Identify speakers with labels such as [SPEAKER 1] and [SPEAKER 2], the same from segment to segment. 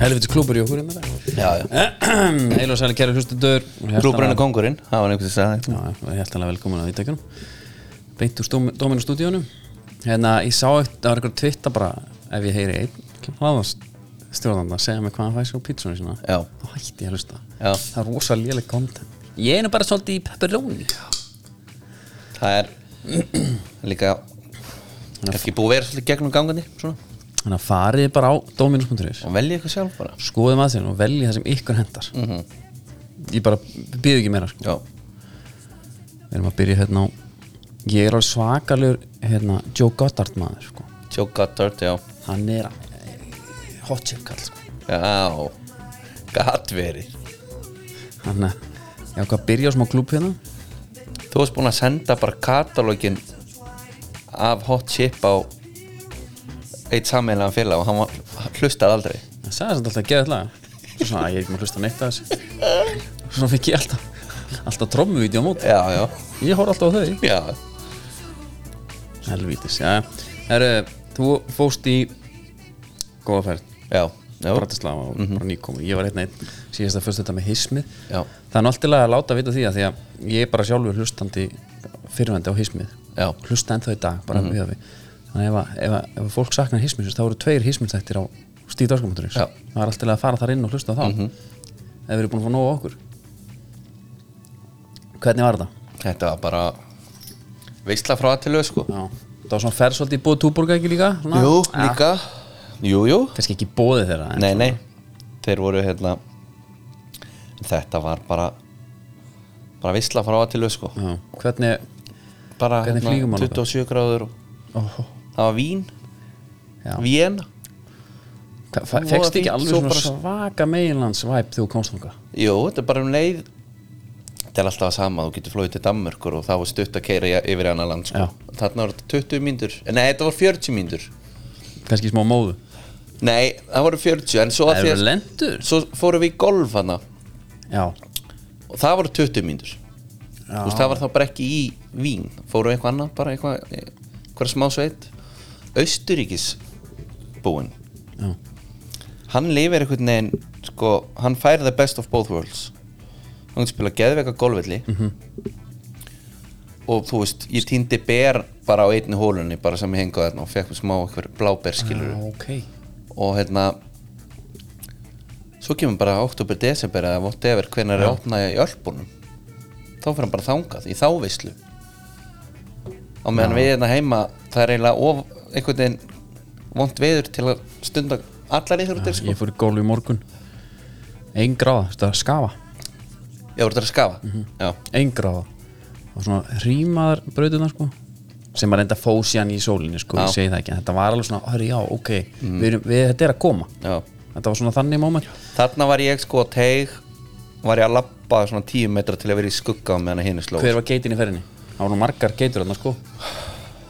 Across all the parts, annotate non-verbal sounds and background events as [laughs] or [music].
[SPEAKER 1] helviti klúpur í okkur hérna [clears throat]
[SPEAKER 2] Já, já.
[SPEAKER 1] þar. Heil og sæli kæra hlustendur
[SPEAKER 2] Klúbrunni kongurinn, það var einhvers að
[SPEAKER 1] Já,
[SPEAKER 2] sagði
[SPEAKER 1] það er hjertalega velkomin að ítækjunum Beint úr Dóminu stúdíónu Hérna, ég sá eitt, það var eitthvað tvitta bara Ef ég heyri einn hlaðastjóðan að segja mig hvað hann fæ sér á pítsunni sína
[SPEAKER 2] Já.
[SPEAKER 1] Þá hætti ég að hlusta
[SPEAKER 2] Já.
[SPEAKER 1] Það er rosa léleg content Ég er nú bara svolítið í pepperoni
[SPEAKER 2] Það er [clears throat] líka ekki búið að vera svolítið gegnum gangandi svona,
[SPEAKER 1] Þannig að farið bara á Dóminus.is
[SPEAKER 2] og velja eitthvað sjálf bara
[SPEAKER 1] Skoðum að þeirn og velji það sem ykkur hendar Ég bara býð ekki meira sko.
[SPEAKER 2] Já,
[SPEAKER 1] Við erum að byrja hérna á Ég er alveg svakalur hérna, Joe Goddard maður sko.
[SPEAKER 2] Joe Goddard, já
[SPEAKER 1] Hann er eh, hot chip kall sko.
[SPEAKER 2] Já, Gattveri
[SPEAKER 1] Þannig að eh, ég ákvað að byrja á smá klúb hérna
[SPEAKER 2] Þú varst búin að senda bara katalógin af hot chip á eitt sammeðlega félag og hann var, hlustaði aldrei
[SPEAKER 1] Það sagði þetta alltaf að geða þetta Svo svona að ég er ekki maður hlusta neitt að þessu Svo fikk ég alltaf Alltaf trommuvídeó á mót
[SPEAKER 2] Já, já,
[SPEAKER 1] Ég horf alltaf á þau
[SPEAKER 2] já
[SPEAKER 1] Helvítis, já Herru, þú fóst í Góða ferð
[SPEAKER 2] Já, já, Mhm.
[SPEAKER 1] Bratislava og bara nýkomi Ég var hérna einn einn síðast að fyrst þetta með hismið
[SPEAKER 2] Já.
[SPEAKER 1] Það er náttúrulega að láta vita því að því að ég er bara sjálfur hlustandi fyrrvendi á hismið
[SPEAKER 2] Já. Mhm.
[SPEAKER 1] Hlusta ennþá í dag, bara mm við Þannig ef, að- ef, að- ef að fólk saknar hismið þá eru tveir hismiðstættir á stíðdorskamunturins
[SPEAKER 2] Já. Mhm.
[SPEAKER 1] Það er alltaf að fara þar inn og hlusta á þá Ef við erum búin að fá nóg á okkur Hvernig var þetta?
[SPEAKER 2] þetta var bara veistla frá að til lög sko
[SPEAKER 1] Já. Það var svona ferð svolítið í búið túborga ekki líka? Svona,
[SPEAKER 2] Jú,
[SPEAKER 1] Ja,
[SPEAKER 2] líka Jú, jú
[SPEAKER 1] Kannski ekki bóðið þeirra en
[SPEAKER 2] Nei,
[SPEAKER 1] svona-
[SPEAKER 2] nei, þeir voru hérna Þetta var bara bara veistla frá að til lög sko
[SPEAKER 1] Já. Hvernig
[SPEAKER 2] bara
[SPEAKER 1] Mm. Hvernig flýgur maður
[SPEAKER 2] 27 gráður og
[SPEAKER 1] oh,
[SPEAKER 2] það var vín,
[SPEAKER 1] Já.
[SPEAKER 2] vín Voða
[SPEAKER 1] Fekst ekki
[SPEAKER 2] fínt,
[SPEAKER 1] alveg
[SPEAKER 2] svo
[SPEAKER 1] svona
[SPEAKER 2] bara-
[SPEAKER 1] svaka meginlandsvæp þegar þú komst þangað
[SPEAKER 2] Jú, þetta er bara um leið Þetta er alltaf að sama, þú getur flóið til Danmörkur og það var stutt að keira yfir annar land sko.
[SPEAKER 1] Já.
[SPEAKER 2] Þarna var þetta 20 mínútur Nei, þetta var 40 mínútur
[SPEAKER 1] Kannski smá móðu
[SPEAKER 2] Nei, það voru 40 en svo, að
[SPEAKER 1] Það
[SPEAKER 2] því
[SPEAKER 1] eru
[SPEAKER 2] að,
[SPEAKER 1] lendur
[SPEAKER 2] svo fórum við í golf hana
[SPEAKER 1] Já,
[SPEAKER 2] og það voru 20 mínútur Þú veist, það var þá bara ekki í Vín Fórum við eitthvað annað, bara eitthvað eh, eitthvað smá sveit Austuríkis búinn
[SPEAKER 1] já,
[SPEAKER 2] hann lifir einhvern veginn sko, hann fær the best of both worlds hann getur spila geðveika golfvelli og þú veist ég týndi ber bara á einni hólunni bara sem ég hengaði þarna og fekk smá einhver bláberskilur
[SPEAKER 1] já Ah, ok
[SPEAKER 2] og hérna svo kemur bara oktober, desember eða whatever, hvernig er að opna í ölpunum þá fyrir hann bara þangað í þávislu á meðan við hérna heima það er eiginlega of, einhvern veginn vond veður til að stunda allar íþjóðutir sko.
[SPEAKER 1] Ég fór í gólu í morgun Ein gráða, þetta er að skafa
[SPEAKER 2] Já, voru þetta að skafa?
[SPEAKER 1] Mhm.
[SPEAKER 2] Já,
[SPEAKER 1] Ein gráða Og svona rýmaðar brautunar sko Sem að reynda fóð síðan í sólinni sko Ég
[SPEAKER 2] Já.
[SPEAKER 1] segi það ekki, en þetta var alveg svona Hörru, já, ok, við erum, við, þetta er að koma
[SPEAKER 2] já
[SPEAKER 1] Þetta var svona þannig moment
[SPEAKER 2] Þarna var ég sko á teig Var ég að labba svona 10 metra til að vera í skugga á meðan að hinn er sló
[SPEAKER 1] Hver var geitin í ferðinni? Það var nú margar geitur þarna sko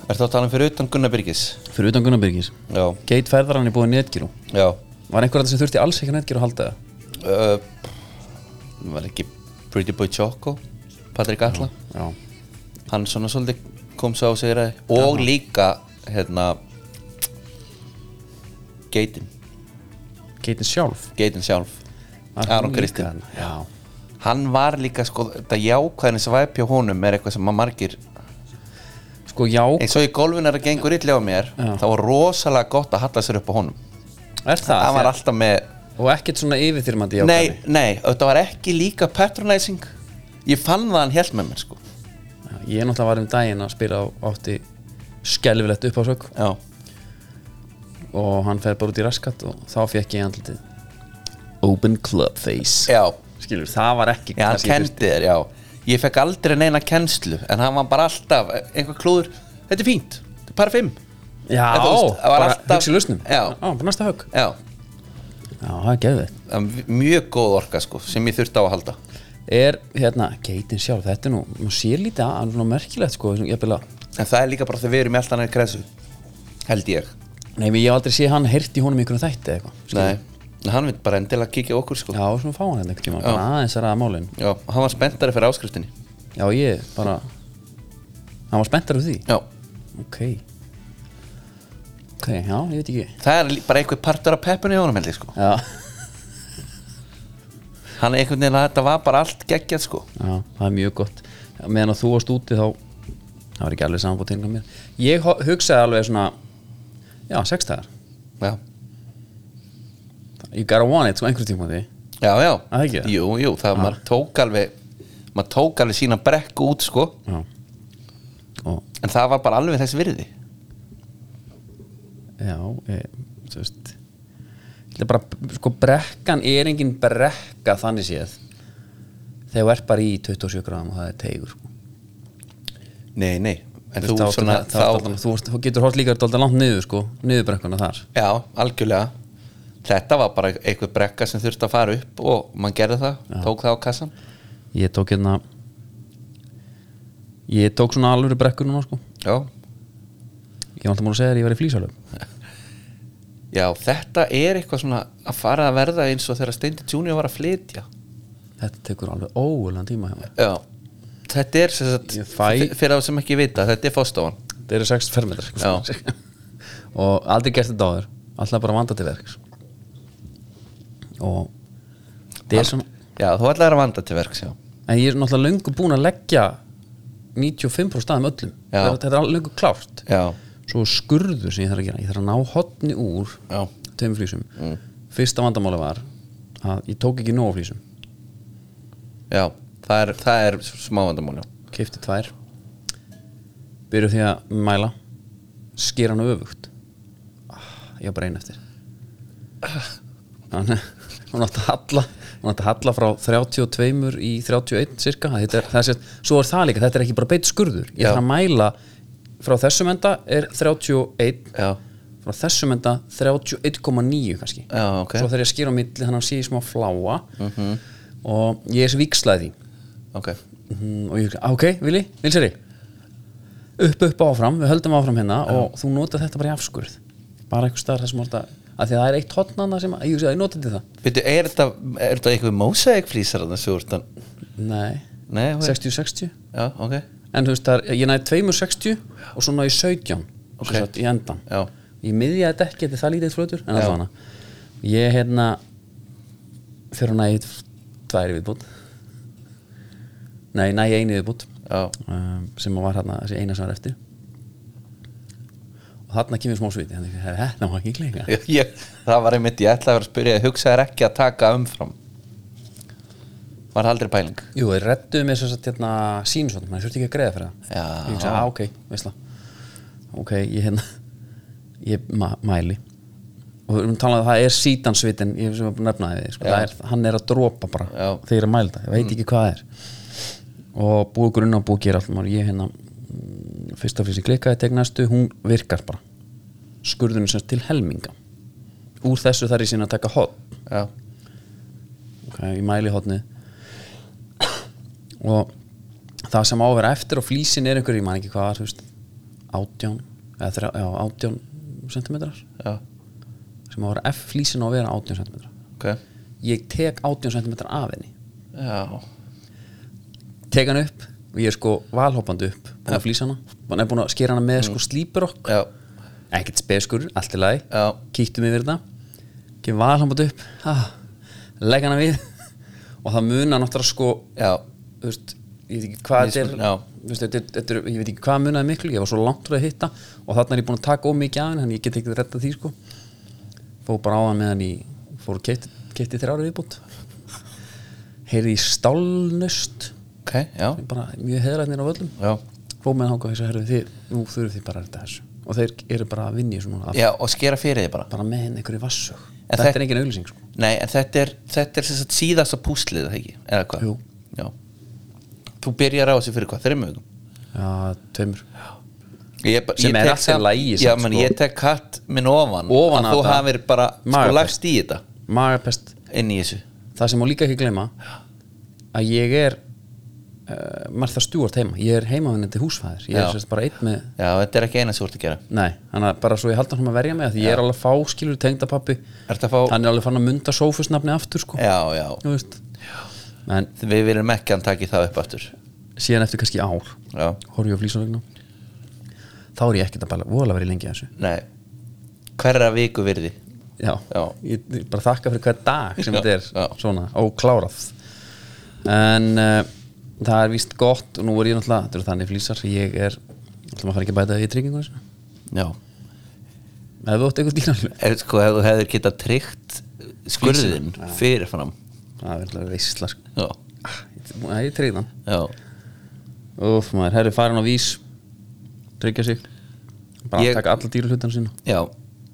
[SPEAKER 2] Er það að tala um fyrir utan Gunnar Byrgis?
[SPEAKER 1] Fyrir utan Gunnarbyrgis
[SPEAKER 2] Já,
[SPEAKER 1] Geit ferðar hann í búið netkíló
[SPEAKER 2] já
[SPEAKER 1] Var einhver þetta sem þurfti alls ekki netkíló að halda það?
[SPEAKER 2] uh, Var ekki Pretty Boy Choco Patrik Alla
[SPEAKER 1] Já,
[SPEAKER 2] Hann svona svolítið kom svo á sig ræði Og líka hérna Geitin
[SPEAKER 1] geitin sjálf
[SPEAKER 2] Geitin sjálf
[SPEAKER 1] Var
[SPEAKER 2] Aron
[SPEAKER 1] hún
[SPEAKER 2] Kristinn.
[SPEAKER 1] líka þarna? Já,
[SPEAKER 2] Hann var líka sko Þetta jákvæðin svæpi á honum er eitthvað sem að margir
[SPEAKER 1] sko já,
[SPEAKER 2] eins og í golfinu er að gengur illa á mér
[SPEAKER 1] Já.
[SPEAKER 2] þá var rosalega gott að halla sér upp á honum
[SPEAKER 1] er það
[SPEAKER 2] hann var alltaf með
[SPEAKER 1] og ekkert svona yfirþyrmandi
[SPEAKER 2] nei, nei, þetta var ekki líka patronizing ég fann það hann held með mér sko
[SPEAKER 1] nei ég náttúrulega var um daginn að spila á átti skelvilegt uppásök
[SPEAKER 2] já,
[SPEAKER 1] og hann fer bara út í raskat og þá fekk ég andlitið open club face
[SPEAKER 2] já,
[SPEAKER 1] skilur, það var ekki
[SPEAKER 2] já hann
[SPEAKER 1] kannski fyrst-
[SPEAKER 2] kendi þér, já ég fekk aldrei neina kennslu en hann var bara alltaf, eh, einhver klúður þetta er fínt, þetta er bara fimm
[SPEAKER 1] já,
[SPEAKER 2] En þú veist, það var
[SPEAKER 1] bara
[SPEAKER 2] alltaf-
[SPEAKER 1] hugsi lausnum
[SPEAKER 2] Já.
[SPEAKER 1] bara næsta högg
[SPEAKER 2] já,
[SPEAKER 1] já, það er geðið
[SPEAKER 2] það var mjög góð orka sko sem ég þurfti á að halda
[SPEAKER 1] er, hérna, geitin sjálf, þetta er nú maður sér lítið að, hann er nú merkilegt sko ég byrja að
[SPEAKER 2] en það er líka bara þegar við erum í alltaf næri kresu held ég,
[SPEAKER 1] Nei, ég hef aldrei séð hann heyrti í honum í einhvern þætti eða eitthvað skilur.
[SPEAKER 2] nei En hann vil bara endilega kíkja á okkur sko
[SPEAKER 1] Já, svona fá hann hérna einhvern tíma, bara aðeins að ræða málin
[SPEAKER 2] Já, hann var spenntari fyrir áskriftinni
[SPEAKER 1] Já, ég bara Hann var spenntar af því
[SPEAKER 2] Já
[SPEAKER 1] Ok Ok, já, ég veit ekki
[SPEAKER 2] Það er lí- bara einhver partur af peppinu í honum held ég sko
[SPEAKER 1] Já
[SPEAKER 2] hann er einhvern veginn að þetta var bara allt geggjað sko
[SPEAKER 1] Já, það er mjög gott meðan að þú varst úti þá það var ekki alveg samanbúið til mér ég ho- hugsaði alveg svona já, sextaðar,
[SPEAKER 2] já,
[SPEAKER 1] you gotta want it sko einhverjum tíma því
[SPEAKER 2] já, já,
[SPEAKER 1] það ekki það?
[SPEAKER 2] jú, jú það maður tók alveg maður tók alveg sína brekku út sko
[SPEAKER 1] já. og
[SPEAKER 2] en það var bara alveg þess virði
[SPEAKER 1] já, e, þú veist þetta er bara, sko brekkan er engin brekka þannig séð þegar þú ert bara í 27 gráðum og það er teigur sko.
[SPEAKER 2] nei, nei,
[SPEAKER 1] Þú
[SPEAKER 2] en þú,
[SPEAKER 1] veist, þá
[SPEAKER 2] svona
[SPEAKER 1] ertu- þá ertu
[SPEAKER 2] þá,
[SPEAKER 1] allan- þú veist, þú getur hótt líka dálítið langt niður sko, niður brekkuna þar
[SPEAKER 2] já, algjörlega þetta var bara einhver brekka sem þurfti að fara upp og mann gerði það, tók það á kassan
[SPEAKER 1] ég tók hérna ég tók svona alvöru brekkur núna sko
[SPEAKER 2] já,
[SPEAKER 1] ég var alltaf múin að segja þér að ég var í flýsalöf
[SPEAKER 2] já, þetta er eitthvað svona að fara að verða eins og þegar Steindi Junior var að flytja
[SPEAKER 1] þetta tekur alveg óulan tíma hjá mig
[SPEAKER 2] já, þetta er sem sagt,
[SPEAKER 1] Ég fæ-
[SPEAKER 2] f- fyrir þá sem ekki vita, þetta er fóstofan
[SPEAKER 1] þetta eru 6 fermetrar sko. [laughs] og aldrei gert þetta áður alltaf bara vanda til verks og þetta er svona
[SPEAKER 2] já, þú ætlaðir að vanda til verks, já
[SPEAKER 1] en ég er náttúrulega löngu búin að leggja 95% staðum öllum
[SPEAKER 2] Já.
[SPEAKER 1] þetta er alveg löngu klárt
[SPEAKER 2] já,
[SPEAKER 1] svo skurður sem ég þarf að gera ég þarf að ná hotni úr
[SPEAKER 2] já, Mm.
[SPEAKER 1] tveimur flýsum fyrsta vandamáli var að ég tók ekki nóg af flýsum
[SPEAKER 2] já það er, það er smá vandamál, já
[SPEAKER 1] keipti tvær byrjuð því að mæla skera hann öfugt Ah, ég var bara einu eftir hann hún átti að halla hún átti að halla frá 32 í 31 cirka þetta er, það er, sért- svo er það líka, þetta er ekki bara beitt skurður ég
[SPEAKER 2] Já.
[SPEAKER 1] þarf að mæla frá þessum enda er 31
[SPEAKER 2] já,
[SPEAKER 1] frá þessum enda 31,9 kannski
[SPEAKER 2] já, ok Mhm.
[SPEAKER 1] svo þegar ég skýra á milli þannig að hann sé í smá fláa og ég er svo vikslaði því
[SPEAKER 2] ok,
[SPEAKER 1] Mhm, og ég hugsa, "Ah, ok, Vili, Vilseri upp, upp áfram, við höldum áfram hérna og þú notar þetta bara í afskurð bara einhver staðar þessum orða að því að það er eitt hotnana sem, ég, ég nota þetta
[SPEAKER 2] veitu, er þetta er þetta eitthvað mósækflýsar þannig sem þú ert að
[SPEAKER 1] nei,
[SPEAKER 2] nei, hún er-
[SPEAKER 1] 60-60
[SPEAKER 2] já, ok,
[SPEAKER 1] en þú veist, það er, ég næði 260 og svo næði 17
[SPEAKER 2] Ok.
[SPEAKER 1] okay. sagt, í endan
[SPEAKER 2] já,
[SPEAKER 1] ég miðja þetta ekki, þetta er það lítið flötur en
[SPEAKER 2] Já.
[SPEAKER 1] allavega ég hérna fyrir að næði tværi viðbútt nei, næði einu viðbútt
[SPEAKER 2] já, [laughs]
[SPEAKER 1] um, sem var hérna þessi eina sem var eftir og þarna kemur smá sviti þannig að þetta var ekki klinga
[SPEAKER 2] já ég, það var einmitt, ég ætlaði að vera að spyrja hugsaðir ekki að taka umfram var það aldrei pæling
[SPEAKER 1] Jú, þeir rettuðu mér sem sagt hérna sínsvönd, maður þurfti ekki að greiða fyrir það
[SPEAKER 2] Já.
[SPEAKER 1] Ég hugsa, að ok, veistla Ok, ég hérna ég ma mæli og við erum talað að það er sítansvitin ég sem að nefna þið, sko, það er, hann er að dropa bara
[SPEAKER 2] Já. Mm.
[SPEAKER 1] þegar ég er að mæla það, ég veit ekki hvað það er og búið grunna og búið gera allmá ég hérna, mm, fyrsta fyrst ég klikkaði tek næstu, hún virkar bara skurðunum sem sagt til helminga úr þessu þar ég sinna að taka hot
[SPEAKER 2] já,
[SPEAKER 1] ok, ég mæli hotnið og það sem á að vera eftir og flísin er einhver, ég man ekki hvað, var, þú veist átján, eða þrjá, já, átján sentimetrar,
[SPEAKER 2] já,
[SPEAKER 1] sem á að vera F flísin á að vera átján sentimetrar
[SPEAKER 2] ok
[SPEAKER 1] ég tek átján sentimetrar af henni
[SPEAKER 2] já,
[SPEAKER 1] tek hann upp og ég er sko valhoppandi upp búin að flýsa hana, hann er búin að skera hana með sko slípurokk,
[SPEAKER 2] Mm. já,
[SPEAKER 1] ekkert speskur allt í lagi,
[SPEAKER 2] já,
[SPEAKER 1] kýttum yfir þetta kemur valhoppandi upp ah, legg hana við [laughs] og það munar náttúrulega sko
[SPEAKER 2] já
[SPEAKER 1] þú veist, ég veit ekki hvað þetta
[SPEAKER 2] Mismun-
[SPEAKER 1] er
[SPEAKER 2] já.
[SPEAKER 1] þú veist, þetta, er- þetta er, ég veit ekki hvað munaði miklu ég var svo langt úr að hitta og þarna er ég búin að taka ómikið af henni, þannig ég get ekki rettað því sko fó bara á hann meðan ég fór og keypti kefti þér ári viðbútt heyrði í stálnust
[SPEAKER 2] ok, já,
[SPEAKER 1] bara mjög heðræðnir á völlum
[SPEAKER 2] já
[SPEAKER 1] fó meðan hanga þess að herðu þið nú þurfið þið bara að retta þessu og þeir eru bara að vinni svona, að,
[SPEAKER 2] já, og skera fyrir þig bara
[SPEAKER 1] bara með henni einhverju vassug
[SPEAKER 2] En
[SPEAKER 1] þetta
[SPEAKER 2] þek-
[SPEAKER 1] er engin auglýsing sko
[SPEAKER 2] Nei, en þetta er, þetta er sem sagt síðasta púslið, það ekki? Eða hvað?
[SPEAKER 1] Jú.
[SPEAKER 2] Já. Þú byrjar á þessu fyrir hvað? Þreim hugum?
[SPEAKER 1] já, tveimur
[SPEAKER 2] Ég, ba-
[SPEAKER 1] Sem er
[SPEAKER 2] ég tek
[SPEAKER 1] allt í
[SPEAKER 2] samt-
[SPEAKER 1] lagi
[SPEAKER 2] Já,
[SPEAKER 1] samt,
[SPEAKER 2] menn,
[SPEAKER 1] sko.
[SPEAKER 2] ég tek katt minn ofan
[SPEAKER 1] Ofan á
[SPEAKER 2] að þú
[SPEAKER 1] þetta.
[SPEAKER 2] hafir bara sko
[SPEAKER 1] Magapest.
[SPEAKER 2] lagst í þetta
[SPEAKER 1] magapest
[SPEAKER 2] inn í þessu
[SPEAKER 1] það sem má líka ekki gleyma að ég er uh, Martha Stewart heima, ég er heimavinnandi húsfæðir ég
[SPEAKER 2] Já.
[SPEAKER 1] er sérst bara einn með
[SPEAKER 2] Já, þetta er ekki eina sem þú ert að gera
[SPEAKER 1] Nei, hann að bara svo ég haldi hann að verja mig af því ég er alveg að fá skilur tengdapappi
[SPEAKER 2] Ertu að fá-
[SPEAKER 1] hann er alveg fann að munda sófusnafni aftur sko
[SPEAKER 2] Já, já,
[SPEAKER 1] Þú veist. en
[SPEAKER 2] við viljum ekki að hann taki það upp aftur
[SPEAKER 1] síðan eftir kannski ár
[SPEAKER 2] Já,
[SPEAKER 1] horf ég á flýsavegna þá er ég ekkert að bæla voðalega verið lengi að þessu
[SPEAKER 2] nei Hverra viku virði
[SPEAKER 1] já,
[SPEAKER 2] Já.
[SPEAKER 1] Ég, ég bara þakka fyrir hver dag sem
[SPEAKER 2] Já,
[SPEAKER 1] þetta er
[SPEAKER 2] já.
[SPEAKER 1] svona óklárað en uh, það er víst gott og nú er ég náttúrulega, þetta eru þannig flýsar ég er, náttúrulega maður fara ekki að bæta í tryggingu þessu.
[SPEAKER 2] Já
[SPEAKER 1] ef þú átt eitthvað dýralöf
[SPEAKER 2] er, sko, Ef þú hefðir getað tryggt skurðin fyrirfram
[SPEAKER 1] það er náttúrulega veistla sko.
[SPEAKER 2] Já,
[SPEAKER 1] Ah, ég- Nei, ég tryggði hann
[SPEAKER 2] já,
[SPEAKER 1] Úf, maður, herri farin á vís Tryggja sig Bara
[SPEAKER 2] Ég-
[SPEAKER 1] að taka alla dýralutana sína
[SPEAKER 2] já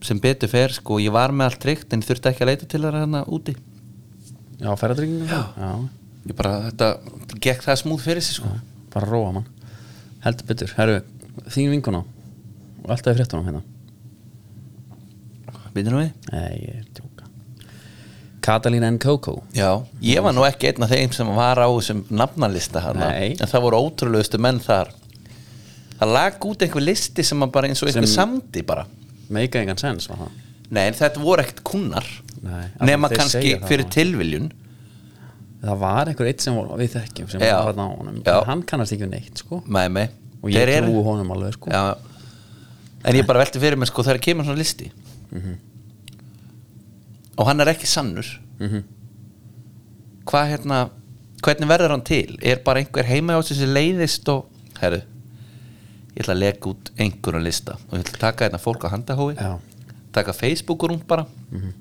[SPEAKER 2] sem betur fer sko, ég var með allt tryggt en þurfti ekki að leita til þeirra hérna úti
[SPEAKER 1] Já, sko. ferðatryggingum Já,
[SPEAKER 2] ég bara, þetta gekk það smúð fyrir sig sko.
[SPEAKER 1] bara róa mann Heldur betur, herru, þín vinkona Og alltaf í fréttunum hérna
[SPEAKER 2] við erum við
[SPEAKER 1] Nei, ég er að tjóka Katalín N. Coco
[SPEAKER 2] Já, ég var nú ekki einn af þeim sem var á þessum nafnalista hana
[SPEAKER 1] Nei.
[SPEAKER 2] en það voru ótrúlegustu menn þar það lag út einhver listi sem að bara eins og einhver
[SPEAKER 1] Sem-
[SPEAKER 2] samdi bara
[SPEAKER 1] Make engan sense, var það
[SPEAKER 2] Nei, en þetta voru ekkert kunnar
[SPEAKER 1] Nei, af því
[SPEAKER 2] nema
[SPEAKER 1] þeir
[SPEAKER 2] kannski
[SPEAKER 1] segja það
[SPEAKER 2] fyrir
[SPEAKER 1] nú.
[SPEAKER 2] tilviljun
[SPEAKER 1] Það var einhver eitt sem voru, við þekkjum sem
[SPEAKER 2] Já.
[SPEAKER 1] var þarna á honum
[SPEAKER 2] Já.
[SPEAKER 1] En Hann kannast ekki við neitt, sko
[SPEAKER 2] Nei, nei
[SPEAKER 1] Og ég
[SPEAKER 2] Þeir eru-
[SPEAKER 1] trúi honum alveg, sko
[SPEAKER 2] Já En ég bara velti fyrir mér sko þegar kemur svona listi
[SPEAKER 1] Mhm.
[SPEAKER 2] og hann er ekki sannur
[SPEAKER 1] Mhm.
[SPEAKER 2] hvað hérna hvernig verður hann til? Er bara einhver heima á þessi leiðist og herru ég ætla að leka út einhverjum lista og ég ætla að taka hérna fólk á handahói
[SPEAKER 1] Já. Mhm.
[SPEAKER 2] taka Facebook úr hún bara mm -hmm.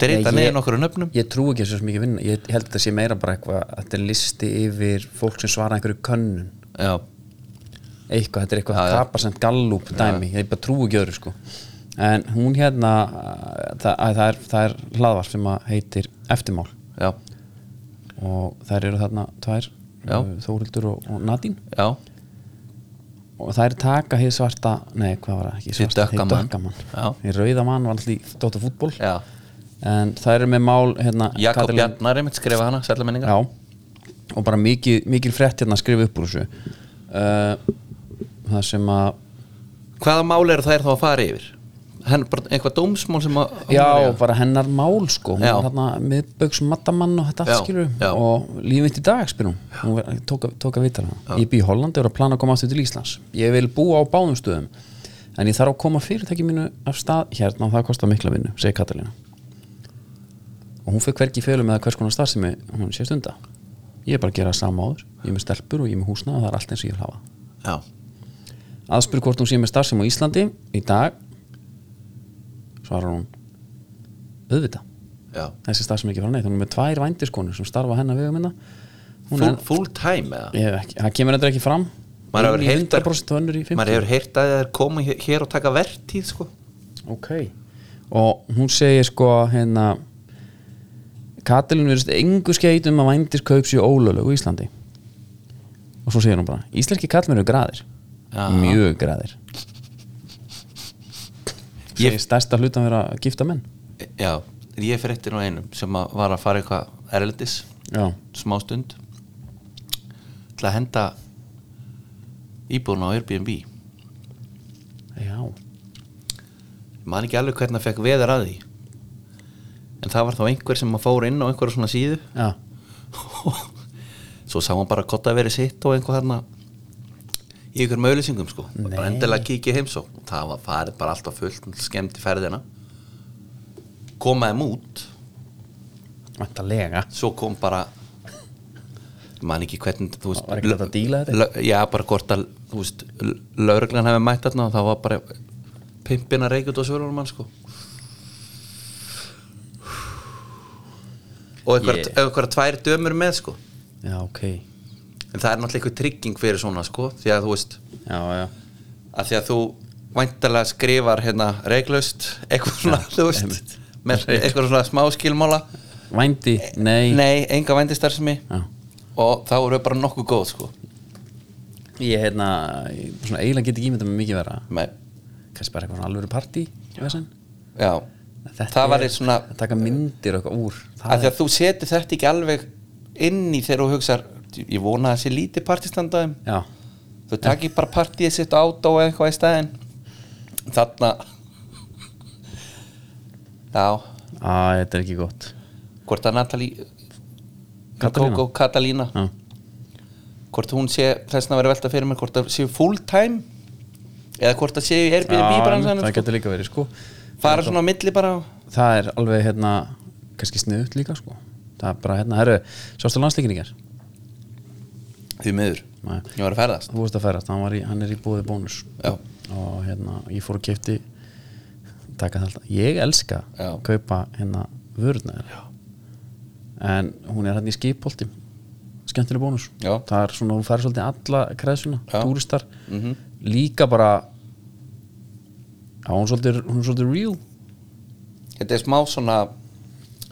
[SPEAKER 2] dreita
[SPEAKER 1] Nei, ég-
[SPEAKER 2] niður nokkru nöfnum
[SPEAKER 1] Ég trú ekki þessu sem mikið vinna Ég held að þetta sé meira bara eitthvað að Þetta er listi yfir fólk sem svara einhverju könnun
[SPEAKER 2] Já,
[SPEAKER 1] Eitthvað, þetta er eitthvað
[SPEAKER 2] Já, já.
[SPEAKER 1] kapasent gallup dæmi Ég bara trú ekki öðru sko En hún hérna það, að, það, er, það er hlaðvarp sem að heitir Eftirmál
[SPEAKER 2] já,
[SPEAKER 1] og þær eru þarna tvær
[SPEAKER 2] Já.
[SPEAKER 1] uh, Þórildur og, og Nadín
[SPEAKER 2] já
[SPEAKER 1] og þær taka hér svarta nei, hvað var það, ekki
[SPEAKER 2] Hið
[SPEAKER 1] svarta,
[SPEAKER 2] dökka mann. Já.
[SPEAKER 1] dökkamann hér rauða mann var alltaf í Dóta fútból
[SPEAKER 2] Já.
[SPEAKER 1] en þær eru með mál hérna,
[SPEAKER 2] Jakob
[SPEAKER 1] Katrín-
[SPEAKER 2] Bjarnar einmitt skrifa hana, sætla menningar
[SPEAKER 1] Já, og bara mikið, mikið frétt hérna að skrifa upp úr þessu uh, Það sem að
[SPEAKER 2] Hvaða máli eru þær þá að fara yfir? Henn, bara einhvað dómsmál sem að hún
[SPEAKER 1] Já,
[SPEAKER 2] er í að-
[SPEAKER 1] bara hennar mál sko Hún
[SPEAKER 2] Já.
[SPEAKER 1] var hérna miðböks mattamann og þetta
[SPEAKER 2] Já,
[SPEAKER 1] allt skilur
[SPEAKER 2] já.
[SPEAKER 1] Og lífið mitt í dag spyrum Hún var- tók, að- tók að vita hana Ég bý í Hollandi og er að plana að koma aftur til Íslands Ég vil búa á báðum stöðum En ég þarf að koma fyrirtæki mínu af stað hérna og það kostar mikla vinnu, segir Katalína og hún fyrir hvergi í fjölum með hvers konar starfsemi hún sé stunda ég er bara að gera það sama áður, ég er með stelpur og ég er með húsna og það er allt eins og ég vil hafa
[SPEAKER 2] já,
[SPEAKER 1] aðspyr hvort hún sé með starfsem á Íslandi í dag svarar hún auðvita,
[SPEAKER 2] já.
[SPEAKER 1] þessi starfsem er ekki frá neitt hún er með tvær vændiskonur sem starfa á hennar vegum minna hún
[SPEAKER 2] Full,
[SPEAKER 1] er,
[SPEAKER 2] full time eða?
[SPEAKER 1] ég hef ekki, það kemur þetta ekki fram
[SPEAKER 2] Maður
[SPEAKER 1] Ein
[SPEAKER 2] hefur
[SPEAKER 1] í
[SPEAKER 2] heyrt þær-
[SPEAKER 1] 100% og önnur í 50
[SPEAKER 2] Maður hefur heyrt að þær koma hér- hér og taka vertíð sko.
[SPEAKER 1] ok og hún segir sko hérna Katalín verðist engu skeit um að vændis kaup sér ólölu í Íslandi og svo segir hún bara íslenski kallmenn eru graðir
[SPEAKER 2] Já.
[SPEAKER 1] mjög graðir
[SPEAKER 2] Ég-
[SPEAKER 1] segir stærsta hlutan vera að gifta menn
[SPEAKER 2] Já, ég fyrir eftir nú einum sem að var að fara eitthvað erlendis
[SPEAKER 1] já,
[SPEAKER 2] smá stund til að henda íbúðuna á Airbnb
[SPEAKER 1] já,
[SPEAKER 2] maður ekki alveg hvernig að fekk veðar að því en það var þá einhver sem að fór inn á einhverja svona síðu
[SPEAKER 1] já.
[SPEAKER 2] svo sá hann bara gott að vera sitt og einhver þarna í ykkur möglusingum sko bara endilega kíkja heimsó það var farið bara alltaf fullt skemmt í ferðina komaði mút
[SPEAKER 1] vantalega
[SPEAKER 2] svo kom bara man ekki hvernig þú veist
[SPEAKER 1] Var ekki hægt að díla þetta?
[SPEAKER 2] lö- já bara hvort að þú veist lauruglan hefði mætt þarna og það var bara pimpina reykjut og svörunum hann sko og einhverja
[SPEAKER 1] Yeah.
[SPEAKER 2] yeah. tvær dömur með sko
[SPEAKER 1] já, ok,
[SPEAKER 2] en það er náttúrulega einhver trygging fyrir svona sko því að þú veist
[SPEAKER 1] já, já
[SPEAKER 2] að því að þú væntalega skrifar hérna reglust eitthvað svona þú veist
[SPEAKER 1] einmitt.
[SPEAKER 2] með eitthvað svona smá skilmála
[SPEAKER 1] vændi, nei,
[SPEAKER 2] nei, enga vændistarsmi
[SPEAKER 1] Já.
[SPEAKER 2] og þá eru við bara nokkuð góð sko
[SPEAKER 1] ég hérna ég, svona eiginlega get ekki ímynda með mikið vera
[SPEAKER 2] nei,
[SPEAKER 1] kannski bara eitthvað svona alvöru partí vesen.
[SPEAKER 2] já
[SPEAKER 1] Þetta
[SPEAKER 2] það var
[SPEAKER 1] er-
[SPEAKER 2] eitt svona
[SPEAKER 1] að taka myndir og eitthvað úr
[SPEAKER 2] að því að þú setur þetta ekki alveg inn í þegar þú hugsar ég vona að það sé lítið partistandaðum
[SPEAKER 1] já,
[SPEAKER 2] þú takir bara partíið sitt át og eitthvað í stæðin þarna já
[SPEAKER 1] að þetta er ekki gott
[SPEAKER 2] hvort að Natalie
[SPEAKER 1] Katalína? Mm.
[SPEAKER 2] Coco Catalina
[SPEAKER 1] já,
[SPEAKER 2] hvort hún sé þess að vera velta fyrir mér hvort það séu full time eða hvort það séu í Airbnb
[SPEAKER 1] Já,
[SPEAKER 2] bransanum
[SPEAKER 1] það
[SPEAKER 2] sko.
[SPEAKER 1] getur líka verið sko
[SPEAKER 2] fara svona á milli bara
[SPEAKER 1] það er alveg hérna kannski sniðut líka sko það er bara hérna, herru, sástu landsleikin í ger
[SPEAKER 2] því miður
[SPEAKER 1] Nei.
[SPEAKER 2] ég var að ferðast
[SPEAKER 1] þú veist að færast, hann, var í, hann er í búði bónus
[SPEAKER 2] Já.
[SPEAKER 1] og hérna, ég fór og kefti taka það alltaf, ég elska
[SPEAKER 2] Já.
[SPEAKER 1] kaupa hérna vörðnaður en hún er hérna í skipolti skemmtileg bónus
[SPEAKER 2] Já.
[SPEAKER 1] það er svona, hún fær svolítið alla kreðsuna
[SPEAKER 2] Já. Mhm.
[SPEAKER 1] túristar, líka bara já, hún er svolítið, hún er svolítið real
[SPEAKER 2] þetta er smá svona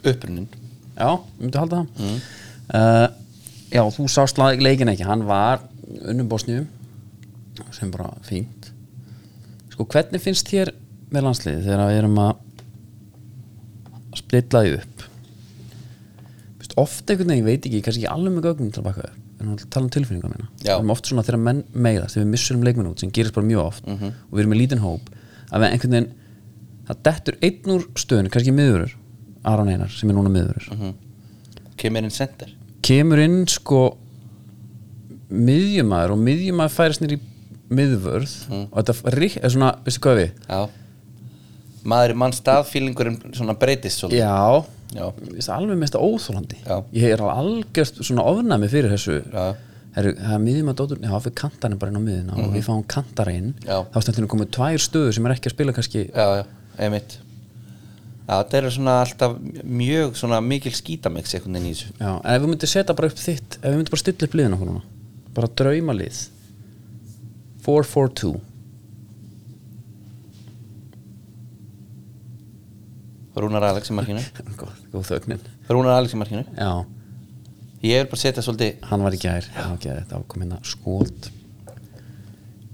[SPEAKER 2] upprunnin
[SPEAKER 1] Já, myndi halda það uh, Já, þú sást lag- leikinn ekki Hann var unnum Bosníum sem bara fínt Sko, hvernig finnst þér með landsliði þegar við erum að splilla því upp Vist, oft einhvern veginn, ég veit ekki, kannski ekki alveg með gögnum til að baka upp, en hún er að tala um tilfinningar mína
[SPEAKER 2] Já.
[SPEAKER 1] það er oft svona þegar menn meiðast þegar við missurum leikmenn út, sem gerist bara mjög oft og við erum með lítinn hóp, að við einhvern veginn það dettur einn úr stöðun kannski miðurur, Aron Einar sem er núna miðurur,
[SPEAKER 2] kemur inn sender
[SPEAKER 1] kemur inn sko miðjumæður og miðjumæður færist nýr í miðvörð
[SPEAKER 2] Mm.
[SPEAKER 1] og þetta rík, er svona, veistu hvað við
[SPEAKER 2] já maður í mann staðfílingurinn svona breytist svolítið
[SPEAKER 1] já,
[SPEAKER 2] já,
[SPEAKER 1] Mér finnst það alveg mest óþólandi
[SPEAKER 2] Já.
[SPEAKER 1] ég er alveg algjörst svona ofnæmi fyrir þessu
[SPEAKER 2] Já. Mhm.
[SPEAKER 1] Heru, það er miðjum að dótur, já við kantarinn bara inn á miðina og við fáum kantara inn
[SPEAKER 2] Já.
[SPEAKER 1] þá stendinu komið tvær stöður sem er ekki að spila kannski
[SPEAKER 2] já, já, einmitt já, þetta eru svona alltaf mjög svona mikil skítamix einhvern veginn í þessu
[SPEAKER 1] Já, en ef við myndum setja bara upp þitt ef við myndum bara stilla upp liðin okkur núna bara draumalið 4-4-2
[SPEAKER 2] Rúnar Alex í markinu
[SPEAKER 1] [laughs] góð, góð þögnin
[SPEAKER 2] Rúnar Alex í markinu
[SPEAKER 1] Já,
[SPEAKER 2] ég vil bara setja svolítið
[SPEAKER 1] hann var í gær Já, ok, þetta var komin að hérna skot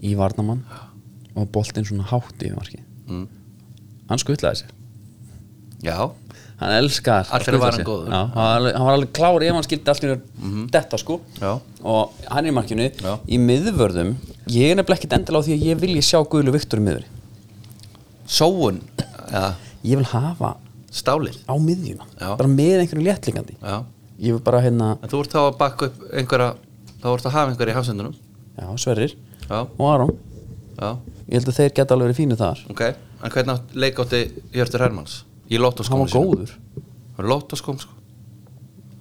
[SPEAKER 1] í varnamann og boltinn svona hátt yfir marki
[SPEAKER 2] mm.
[SPEAKER 1] hann skutlaði sér
[SPEAKER 2] já,
[SPEAKER 1] hann elskar að
[SPEAKER 2] Allir að
[SPEAKER 1] skutla
[SPEAKER 2] vara hann
[SPEAKER 1] sig.
[SPEAKER 2] góður.
[SPEAKER 1] já, hann, var alveg, hann var alveg klár ef hann skildi allt í mm. detta sko
[SPEAKER 2] Já.
[SPEAKER 1] og hann er í markinu
[SPEAKER 2] Já.
[SPEAKER 1] í miðvörðum ég er nefnilega ekkert endilega á því að ég vilji sjá Guðlu Viktor í miðvörði
[SPEAKER 2] sóun já,
[SPEAKER 1] ég vil hafa
[SPEAKER 2] stálið
[SPEAKER 1] á miðjuna
[SPEAKER 2] Já.
[SPEAKER 1] bara með einhverju léttlingandi
[SPEAKER 2] já,
[SPEAKER 1] ég vil bara hérna,
[SPEAKER 2] en þú ert þá að bakka upp einhverja þá ert að hafa einhverja í hafsendunum
[SPEAKER 1] já, Sverrir
[SPEAKER 2] já,
[SPEAKER 1] og Aron,
[SPEAKER 2] já,
[SPEAKER 1] ég held að þeir geta alveg verið fínu þar
[SPEAKER 2] ok en hvernig átt- leik átti Hjörtur Hermanns í
[SPEAKER 1] hann
[SPEAKER 2] lottoskónu
[SPEAKER 1] var góður,
[SPEAKER 2] lottoskóm sko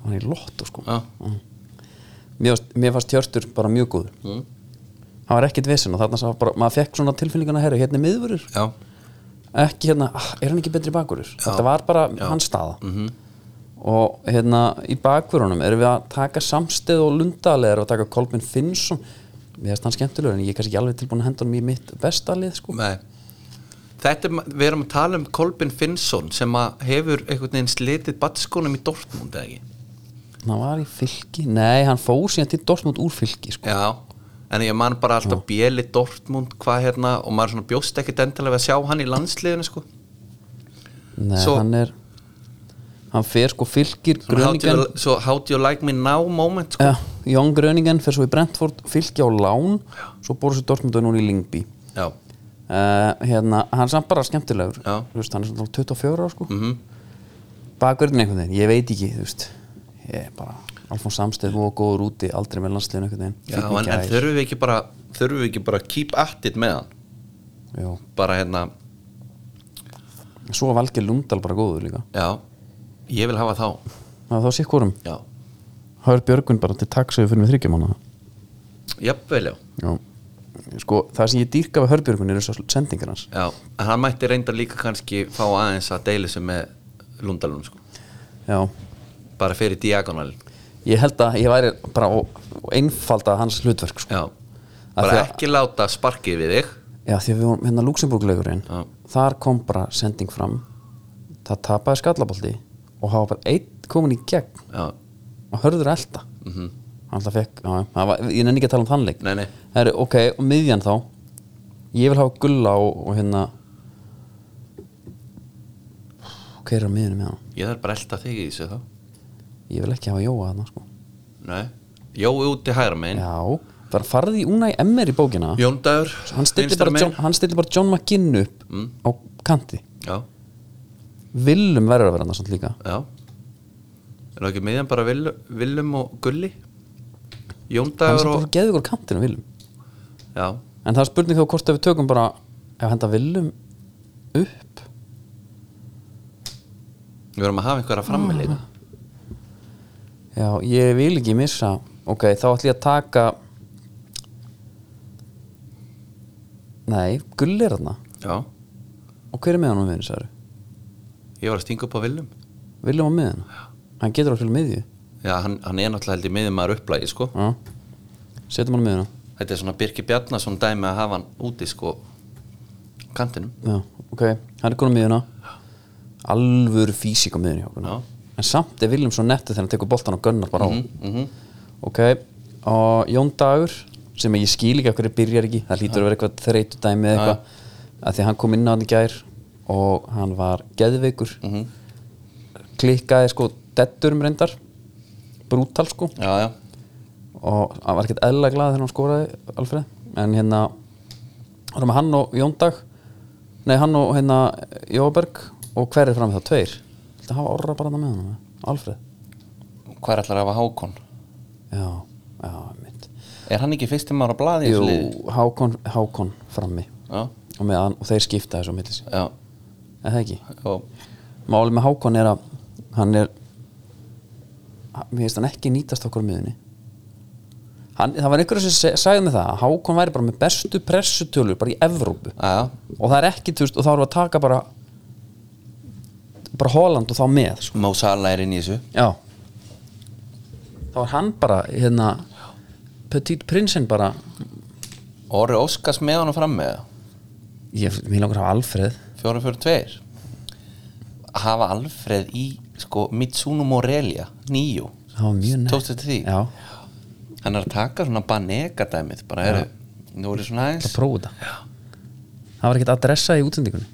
[SPEAKER 1] hann er í lott sko.
[SPEAKER 2] já,
[SPEAKER 1] mér, varst, mér fannst Hjörtur bara mjög góður
[SPEAKER 2] Mm.
[SPEAKER 1] hann var ekkit vesen og þarna sá bara, maður fekk svona tilfinninguna herri, hérna er miðvörur
[SPEAKER 2] já,
[SPEAKER 1] ekki hérna, ah, er hann ekki betri bakurur þetta var bara hans staða
[SPEAKER 2] Mhm.
[SPEAKER 1] -hmm. og hérna í bakurunum erum við að taka samstið og lundalegar og taka Kolbin Finnsson við erum hann skemmtilegur en ég er kannski ekki alveg tilbúin að henda honum í mitt bestalið sko.
[SPEAKER 2] nei Þetta, er ma- við erum að tala um Kolbin Finnsson sem að hefur einhvern veginn slitið batskónum í Dortmund eða ekki
[SPEAKER 1] hann var í fylki, nei hann fór síðan til Dortmund úr fylki sko.
[SPEAKER 2] Já, en ég man bara alltaf Bjeli Dortmund, hvað hérna og maður svona bjóst ekkit endilega við að sjá hann í landsliðinu sko,
[SPEAKER 1] nei,
[SPEAKER 2] Svo-
[SPEAKER 1] hann er hann fer sko fylgir
[SPEAKER 2] Svona how do
[SPEAKER 1] Gröningen
[SPEAKER 2] you- svo how do you like me now moment sko.
[SPEAKER 1] ja, Jón Gröningen fer svo í Brentford fylki á Lán, svo borður sér Dortmund og núna í Lingby
[SPEAKER 2] Já,
[SPEAKER 1] uh, hérna, hann er samt bara skemmtilegur
[SPEAKER 2] Já. Mhm.
[SPEAKER 1] Þú veist, hann er svona 24 ára sko mm -hmm. bakverðin einhvern veginn, ég veit ekki þú veist, ég er bara Alfons Samsteð og góður úti, aldrei með landsliðin einhvern veginn
[SPEAKER 2] Já
[SPEAKER 1] Fínn í
[SPEAKER 2] en, en
[SPEAKER 1] gær.
[SPEAKER 2] þurfum við ekki bara þurfum við ekki bara að keep at it með hann
[SPEAKER 1] Jú.
[SPEAKER 2] bara hérna,
[SPEAKER 1] svo var Valgeir Lundal bara góður líka
[SPEAKER 2] já ég vil hafa þá,
[SPEAKER 1] það var sér hvorum,
[SPEAKER 2] já
[SPEAKER 1] Hör Björgun bara til takk sem við fyrir með þryggjum hana
[SPEAKER 2] jafnvel já,
[SPEAKER 1] Já, sko, það sem ég dýrka við Hörbjörgun eru svo sendingar hans
[SPEAKER 2] já, en hann mætti reynda líka kannski fá aðeins að deila sig með Lundalunum sko,
[SPEAKER 1] Já,
[SPEAKER 2] bara fyrir diagonalin
[SPEAKER 1] ég held að ég væri bara og, og einfalda hans hlutverk sko.
[SPEAKER 2] já,
[SPEAKER 1] Af
[SPEAKER 2] bara
[SPEAKER 1] því að-
[SPEAKER 2] ekki láta sparkið við þig
[SPEAKER 1] Já, því að við vorum hérna Luxemburglegurinn
[SPEAKER 2] Já.
[SPEAKER 1] þar kom bara sending fram það tapaði skallabolti og hafa bara einn komin í gegn
[SPEAKER 2] já,
[SPEAKER 1] og hörður elta mm -hmm. hann alltaf fekk, já, það var, ég nenni ekki að tala um þannleik
[SPEAKER 2] Mhm. nei nei,
[SPEAKER 1] Heru, ok, og miðjan þá ég vil hafa gulla og, og hérna hver er á miðjunum með hann
[SPEAKER 2] ég þarf bara að elta þig í þessu þá
[SPEAKER 1] ég vil ekki hafa jóa þarna sko
[SPEAKER 2] Nei, Jói úti hægra megin
[SPEAKER 1] Já, bara farði í Unai Emmer í bókina
[SPEAKER 2] Jón Dagur
[SPEAKER 1] hann stilli,
[SPEAKER 2] vinstra
[SPEAKER 1] bara John,
[SPEAKER 2] megin.
[SPEAKER 1] hann stilli bara John McGinn upp á kanti
[SPEAKER 2] Já,
[SPEAKER 1] Villum verður að vera hann samt líka
[SPEAKER 2] já Er það ekki miðjan bara Vill- Willum og Gulli Jón
[SPEAKER 1] hann sem
[SPEAKER 2] Dagur og
[SPEAKER 1] bara geði ykkur kantinu Villum
[SPEAKER 2] Já,
[SPEAKER 1] en það er spurning þá hvort að við tökum bara ef henda Villum upp
[SPEAKER 2] Við verðum að hafa einhverja frammelingu
[SPEAKER 1] Já, ég vil ekki missa Ok, þá ætlum ég að taka Nei, gull er þarna
[SPEAKER 2] Já,
[SPEAKER 1] Og hver er með hann á miðinu, sagði
[SPEAKER 2] ég var að stinga upp á Willum
[SPEAKER 1] Viljum á miðinu Hann getur okkur miðju
[SPEAKER 2] Já, hann, hann er náttúrulega held í miðum maður upplægi sko.
[SPEAKER 1] Já. Setjum hann á miðinu
[SPEAKER 2] Þetta er svona Birki Bjarnason dæmi að hafa hann úti sko kantinum
[SPEAKER 1] Já, ok, hann er konum miðuna Alvöru físík á miðinu hjá okkur
[SPEAKER 2] Já.
[SPEAKER 1] En samt er Viljum svo nettu þegar hann tekur boltan og gunnar bara á
[SPEAKER 2] mm -hmm.
[SPEAKER 1] Ok, og Jón Dagur sem ég skil ekki af hverju byrjar ekki það hlýtur að vera eitthvað þreytu dæmi eða eitthvað að því að hann kom inn á hann í gær og hann var geðveikur klikkaði sko detturum reyndar brútal sko
[SPEAKER 2] Já, já,
[SPEAKER 1] og hann var ekkert eðla glað þegar hann skoraði Alfreð en hérna varum hann og Jón Dag nei hann og hérna Jóberg og hver er fram þá tveir Þetta hafa orra bara það með hann Alfreð
[SPEAKER 2] hvað er allar að hafa Hákon?
[SPEAKER 1] já, já, mitt
[SPEAKER 2] Er hann ekki fyrstum ára blaði í þessu
[SPEAKER 1] Jú,
[SPEAKER 2] liði?
[SPEAKER 1] Hákon, Hákon frammi
[SPEAKER 2] Já,
[SPEAKER 1] og, meðan, og þeir skipta þessu á milli sín
[SPEAKER 2] já,
[SPEAKER 1] eða það ekki
[SPEAKER 2] og
[SPEAKER 1] Málið með Hákon er að hann er mér finnst hann ekki nýtast okkur á miðunni hann, það var einhverjum sem se- sagði með það að Hákon væri bara með bestu pressutölur bara í Evrópu
[SPEAKER 2] já,
[SPEAKER 1] og það er ekki, þú veist, og þá erum við að taka bara bara Holland og þá með sko.
[SPEAKER 2] Mó Sala er inn í þessu
[SPEAKER 1] já þá er hann bara, hérna Petit Prinsen bara
[SPEAKER 2] Orri Óskars með hann fram með
[SPEAKER 1] ég, mér langar að hafa Alfreð
[SPEAKER 2] 4-4-2 hafa Alfreð í sko Mitsuno Morelia, nýju
[SPEAKER 1] það var mjög nefn
[SPEAKER 2] tókstu til því
[SPEAKER 1] já,
[SPEAKER 2] hann er að taka svona banega dæmið bara eru, nú er svona aðeins
[SPEAKER 1] að prófa þetta það var ekkert adressa í útsendingunni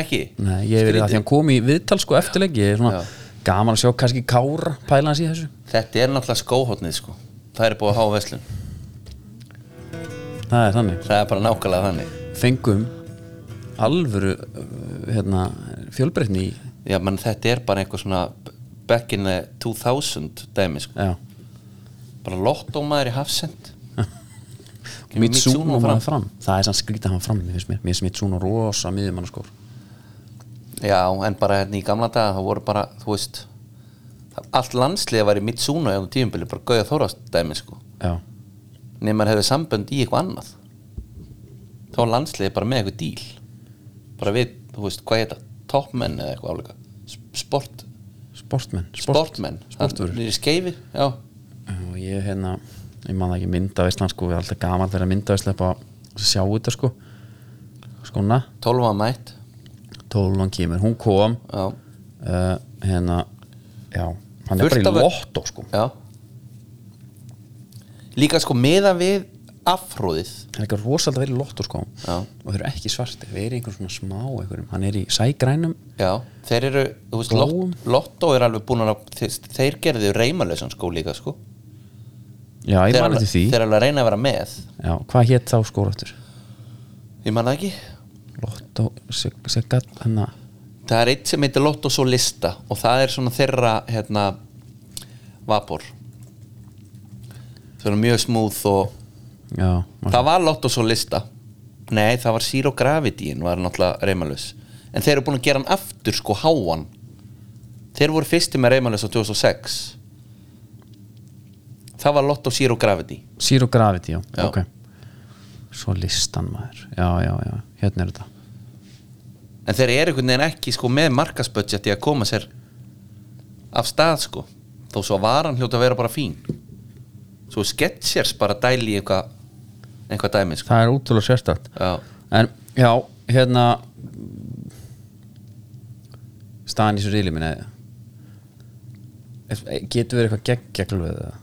[SPEAKER 2] ekki,
[SPEAKER 1] Nei, ég verið að því hann kom í viðtal sko eftirleik ég er svona
[SPEAKER 2] Já.
[SPEAKER 1] gaman að sjá kannski Kára pæla hans í þessu
[SPEAKER 2] þetta er náttúrulega skóhóttnið sko það er búið að háa veslun,
[SPEAKER 1] það er þannig,
[SPEAKER 2] það er bara nákvæmlega þannig
[SPEAKER 1] fengum alvöru uh, hérna, fjölbreytni í
[SPEAKER 2] já, menn þetta er bara eitthvað svona back in the 2000 dæmi sko,
[SPEAKER 1] já,
[SPEAKER 2] bara lottómaður í
[SPEAKER 1] [laughs]
[SPEAKER 2] hafsend Kemur
[SPEAKER 1] Mitsuno
[SPEAKER 2] Mitsuno
[SPEAKER 1] fram. fram það er sann skrítið hann fram, mér finnst mér mér finnst Mitsuno rosa miður mann skor
[SPEAKER 2] já, en bara hérna í gamla daga það voru bara, þú veist það- allt landslið var í Mitsuno eða tíumbili, bara gauða þórast dæmi sko
[SPEAKER 1] já,
[SPEAKER 2] nema maður hefur sambönd í eitthvað annað þá er landsliði bara með eitthvað díl bara við, þú veist, hvað heita topmenn eða eitthvað áleika sport,
[SPEAKER 1] sportmenn sport.
[SPEAKER 2] sportmenn
[SPEAKER 1] sportvörur.
[SPEAKER 2] nýri skeifi, já
[SPEAKER 1] og ég hérna, ég man það ekki myndavislan sko, við erum alltaf gaman þegar myndavisla upp á sjá þetta sko skona,
[SPEAKER 2] 12 var mætt,
[SPEAKER 1] 12 hann kemur, hún kom
[SPEAKER 2] já,
[SPEAKER 1] uh, hérna já, hann
[SPEAKER 2] Fullt
[SPEAKER 1] er bara í
[SPEAKER 2] af-
[SPEAKER 1] lottó sko
[SPEAKER 2] já líka sko meða við afhróðið
[SPEAKER 1] hann er ekki rosalega að vera í lottó sko
[SPEAKER 2] Já.
[SPEAKER 1] og þeir eru ekki svarti, þeir eru einhvern svona smá einhverjum. hann er í sægrænum
[SPEAKER 2] já, þeir eru, þú veist,
[SPEAKER 1] Bláum.
[SPEAKER 2] lot, Lotto er alveg búin að þeir, þeir gerðu reymalösan sko líka sko
[SPEAKER 1] já, ég mani
[SPEAKER 2] þeir, alveg,
[SPEAKER 1] til því
[SPEAKER 2] þeir alveg að reyna að vera með
[SPEAKER 1] já, hvað hétt þá skóra aftur
[SPEAKER 2] ég manna ekki
[SPEAKER 1] lottó, hérna. segat hann að
[SPEAKER 2] Það er eitt sem heitir Lotto Solista og það er svona þeirra hérna, vapor svona mjög smúð og
[SPEAKER 1] já, maður-
[SPEAKER 2] það var Lotto Solista Nei, það var Zero Gravity var náttúrulega reymalus en þeir eru búin að gera hann aftur sko háan þeir voru fyrsti með reymalus á 2006 Það var Lotto Zero Gravity
[SPEAKER 1] Zero Gravity, já,
[SPEAKER 2] Já.
[SPEAKER 1] ok svo listan maður, já, já, já hérna er þetta
[SPEAKER 2] en þeir eru einhvern veginn ekki sko með markasbudget í að koma sér af stað sko þó svo að varan hljóta að vera bara fín svo sketsjers bara dæli í eitthvað eitthvað dæmi sko
[SPEAKER 1] það er útrúlega sérstætt
[SPEAKER 2] já,
[SPEAKER 1] en já, hérna staðan í svo reyli minni eh, getur verið eitthvað geggjaglöð eða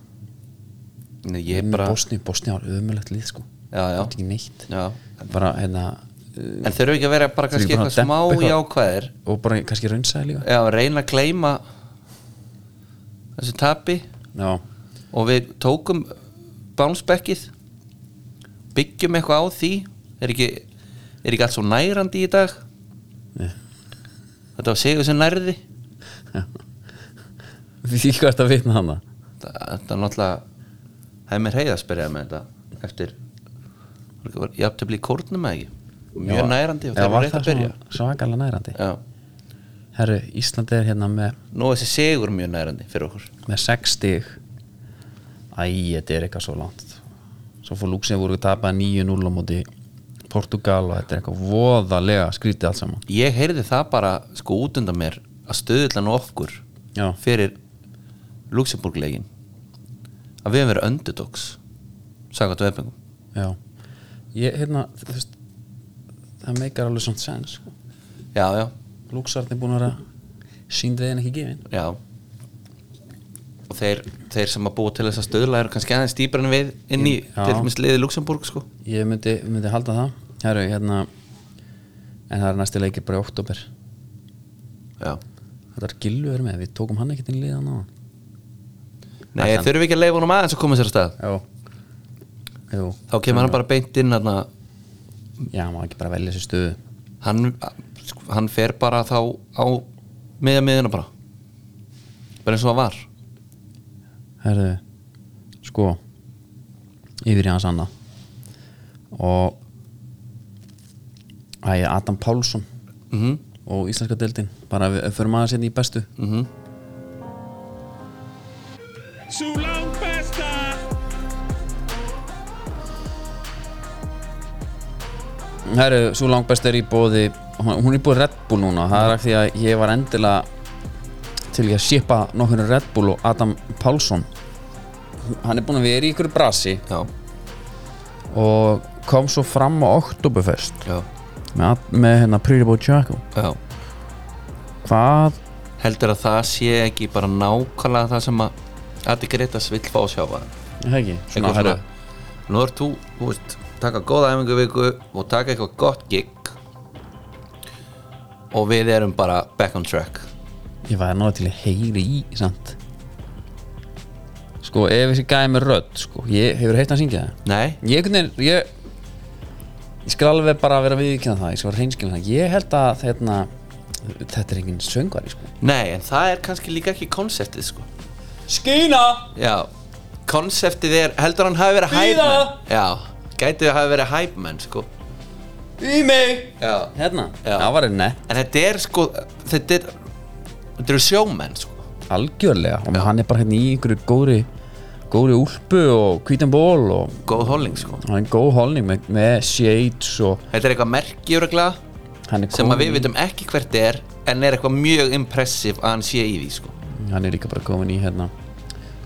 [SPEAKER 2] Nei, ég er bara
[SPEAKER 1] Bosni, Bosni var ömulegt lið sko
[SPEAKER 2] já, já,
[SPEAKER 1] þetta ekki neitt
[SPEAKER 2] já.
[SPEAKER 1] bara hérna
[SPEAKER 2] en þeir eru ekki að vera bara kannski
[SPEAKER 1] bara að
[SPEAKER 2] eitthvað smá
[SPEAKER 1] dempa eitthvað.
[SPEAKER 2] jákvæðir
[SPEAKER 1] og bara kannski raunsaði líka
[SPEAKER 2] já, reyna að gleyma þessu tapi
[SPEAKER 1] já, [laughs]
[SPEAKER 2] og við tókum bánsbekkið byggjum eitthvað á því er ekki, er ekki allt svo nærandi í dag
[SPEAKER 1] Nei.
[SPEAKER 2] þetta var sigur sem nærði
[SPEAKER 1] við því hvað þetta vitna hana
[SPEAKER 2] þetta þetta er náttúrulega það er mér heiða að spyrja með þetta eftir ég hafði að bli í kórnum eða ekki mjög nærandi
[SPEAKER 1] Já,
[SPEAKER 2] og það
[SPEAKER 1] var
[SPEAKER 2] var rétt að
[SPEAKER 1] það
[SPEAKER 2] byrja
[SPEAKER 1] svona svakalega nærandi
[SPEAKER 2] já.
[SPEAKER 1] herru, Íslandi er hérna með
[SPEAKER 2] Nú er þessi sigur mjög nærandi fyrir okkur
[SPEAKER 1] með 6 stig Æ, þetta er eitthvað svo langt Svo fór Luxemburg að tapa 9-0 á móti Portugal og þetta er eitthvað voðalega skrítið allt saman
[SPEAKER 2] Ég heyrði það bara sko út undan mér að stöðlan okkur
[SPEAKER 1] Já,
[SPEAKER 2] fyrir Luxemburg-legin að við hefum verið underdogs sagði vefningum
[SPEAKER 1] já Ég, hérna, þú veist það meikar alveg samt sens sko.
[SPEAKER 2] Já, já,
[SPEAKER 1] Luxarni búin að vera síndvegin ekki gefin
[SPEAKER 2] já og þeir, þeir sem að búa til þess að stöðla eru kannski aðeins dýpar en við inn í
[SPEAKER 1] Já.
[SPEAKER 2] til dæmis liði Luxemburg sko
[SPEAKER 1] Ég myndi, myndi halda það Herru, hérna En það er næsti leikir bara í oktober
[SPEAKER 2] Já
[SPEAKER 1] Þetta er gillu er með, við tókum hann ekkert inn í liðan á hann
[SPEAKER 2] Nei, þurfum við ekki að leifa honum aðeins að koma sér að stað
[SPEAKER 1] Já Jú,
[SPEAKER 2] þá kemur hann bara beint inn hann
[SPEAKER 1] já, maður ekki bara velja sér stöðu
[SPEAKER 2] hann, sko, hann fer bara þá á miðja miðina bara bara eins og það var
[SPEAKER 1] Herru, sko Yfir í hans annað Og Æ, Adam Pálsson
[SPEAKER 2] mm
[SPEAKER 1] Og íslenska deildin Bara við förum aðeins hérna í bestu
[SPEAKER 3] Sú langt besta
[SPEAKER 1] Herru, svo langbæst er í bóði hún hún er í bóði Red Bull núna það er af því að ég var endilega til í að sépa nokkur Red Bull og Adam Pálsson hann er búinn að vera í ykkur brasi
[SPEAKER 2] Já,
[SPEAKER 1] og kom svo fram á Oktoberfest
[SPEAKER 2] já,
[SPEAKER 1] með, að- með hérna Pretty Boy Jacko
[SPEAKER 2] já
[SPEAKER 1] hvað,
[SPEAKER 2] Heldur að það sé ekki bara nákvæmlega það sem að Adi Gretas vill fá að sjá bara
[SPEAKER 1] heggi svona,
[SPEAKER 2] Eitthvað
[SPEAKER 1] herru,
[SPEAKER 2] svona Nú ert þú, þú veist, taka góða æfingu viku og taka eitthvað gott gig og við erum bara back on track
[SPEAKER 1] ég væri náttúrulega til að heyri í samt sko, ef þessi gæði með rödd sko, ég hefur heitt að syngja það
[SPEAKER 2] Nei,
[SPEAKER 1] ég, einhvern veginn- ég, ég skal alveg bara vera viðkjöna það ég skal vera hreinskilin það ég held að hérna, þetta er enginn söngvari sko.
[SPEAKER 2] nei, en það er kannski líka ekki konseptið sko
[SPEAKER 1] skýna
[SPEAKER 2] Já, konseptið er, heldur hann hafi verið
[SPEAKER 1] Bíða!
[SPEAKER 2] hæpmenn Já, gætið hafi verið hæpmenn sko
[SPEAKER 1] í mig
[SPEAKER 2] Já
[SPEAKER 1] hérna,
[SPEAKER 2] Já.
[SPEAKER 1] það var nett
[SPEAKER 2] En þetta er sko, þetta er, þetta eru sjómenn sko
[SPEAKER 1] algjörlega og hann er bara hérna í einhverju góðri góðri úlpu og hvítan ból og
[SPEAKER 2] Góð holning sko
[SPEAKER 1] hann er góð holning með, með shades og
[SPEAKER 2] Þetta er eitthvað merkjörugla
[SPEAKER 1] hann er,
[SPEAKER 2] sem að við
[SPEAKER 1] komin,
[SPEAKER 2] vitum ekki hvert er en er eitthvað mjög impressiv að hann sé í því sko
[SPEAKER 1] hann er líka bara komin í hérna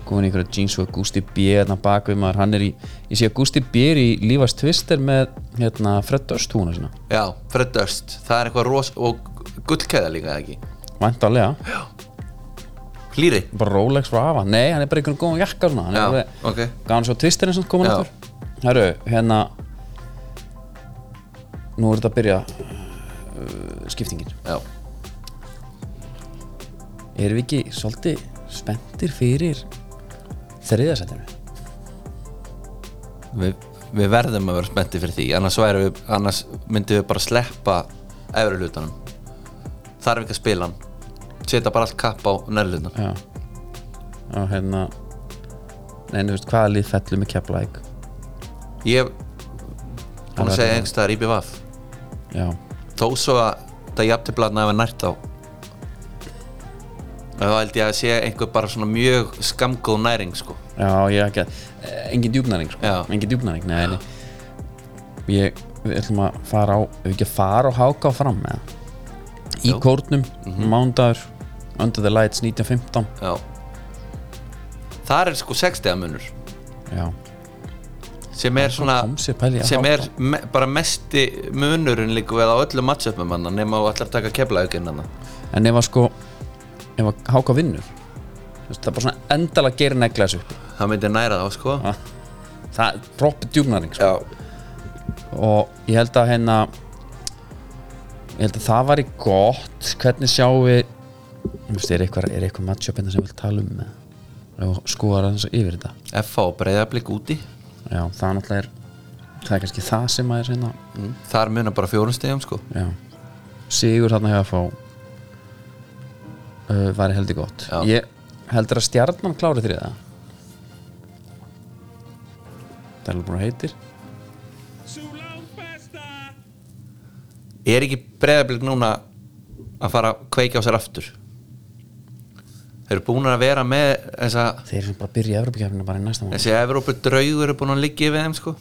[SPEAKER 1] komin í einhverja jeans og Gusti B hérna bak við maður, hann er í ég sé að Gusti B er í lífast tvister með hérna Fred Durst húna sína
[SPEAKER 2] Já, Fred Durst, það er eitthvað ros og gullkæða líka eða ekki
[SPEAKER 1] Væntalega,
[SPEAKER 2] Hlýri
[SPEAKER 1] bara Rolex Rava Nei, hann er bara einhvern góðan jakka svona Hann
[SPEAKER 2] Já,
[SPEAKER 1] er
[SPEAKER 2] ok.
[SPEAKER 1] Gáðan svo tvistirinn sem komin
[SPEAKER 2] Já.
[SPEAKER 1] aftur Herru, hérna Nú er þetta að byrja uh, Skiptingin
[SPEAKER 2] Já,
[SPEAKER 1] Erum við ekki svolítið spenntir fyrir Þriðasættinu?
[SPEAKER 2] við, við verðum að vera spennti fyrir því annars, værum við, annars myndum við bara sleppa efri hlutanum þarf ekki að spila hann setja bara allt kapp á næri hlutan
[SPEAKER 1] Já Og hérna Nei, þú veist, hvaða lið fellur með Keflæk
[SPEAKER 2] ég búin
[SPEAKER 1] verður
[SPEAKER 2] að segja
[SPEAKER 1] það.
[SPEAKER 2] einhvers staðar IBVF
[SPEAKER 1] Já,
[SPEAKER 2] þó svo að það jafntiblaðna hefur nært á þá held ég að sé einhver bara svona mjög skamgóð næring sko
[SPEAKER 1] já, ég ekki að Engin djúpnæring, sko
[SPEAKER 2] Já.
[SPEAKER 1] Engin djúpnæring, nei, nei Ég, við ætlum að fara á Ef við ekki að fara á háka fram, eða í
[SPEAKER 2] Jú.
[SPEAKER 1] kórnum, mm
[SPEAKER 2] Mhm.
[SPEAKER 1] mándagur Under the Lights 1915
[SPEAKER 2] já þar er sko 60 munur
[SPEAKER 1] já,
[SPEAKER 2] sem er svona
[SPEAKER 1] kom sér pæli að
[SPEAKER 2] sem
[SPEAKER 1] hátta.
[SPEAKER 2] er me, bara mesti munurinn líka við á öllum matchupum hann nema þú ætlar að taka keflauginn hann
[SPEAKER 1] en ef að sko ef að háka vinnur þú veist, það er bara svona endala gerir negla þessu upp
[SPEAKER 2] það myndi næra þá sko
[SPEAKER 1] Ah. það er droppi djúknaring sko.
[SPEAKER 2] já,
[SPEAKER 1] og ég held að hérna ég held að það væri gott hvernig sjáum við þú veist, er eitthvað, er eitthvað matchup hérna sem við tala um með og skoðar aðeins yfir þetta
[SPEAKER 2] FH breyðablík úti
[SPEAKER 1] já, það náttúrulega er það er kannski það sem að er hérna
[SPEAKER 2] mm. þar munar bara fjórum stegum sko
[SPEAKER 1] Já. Sigur þarna hefði að fá uh, væri heldur gott
[SPEAKER 2] Já.
[SPEAKER 1] ég heldur að stjarnan klári þriða það er alveg bara heitir
[SPEAKER 3] Sú langt besta
[SPEAKER 2] er ekki breyðablík núna að fara að kveikja á sér aftur þeir eru búin að vera með þessa,
[SPEAKER 1] Þeir sem bara að byrja Evropakefninu bara í næsta mánu
[SPEAKER 2] þessi Evrópu draugur eru búin að liggja yfir þeim sko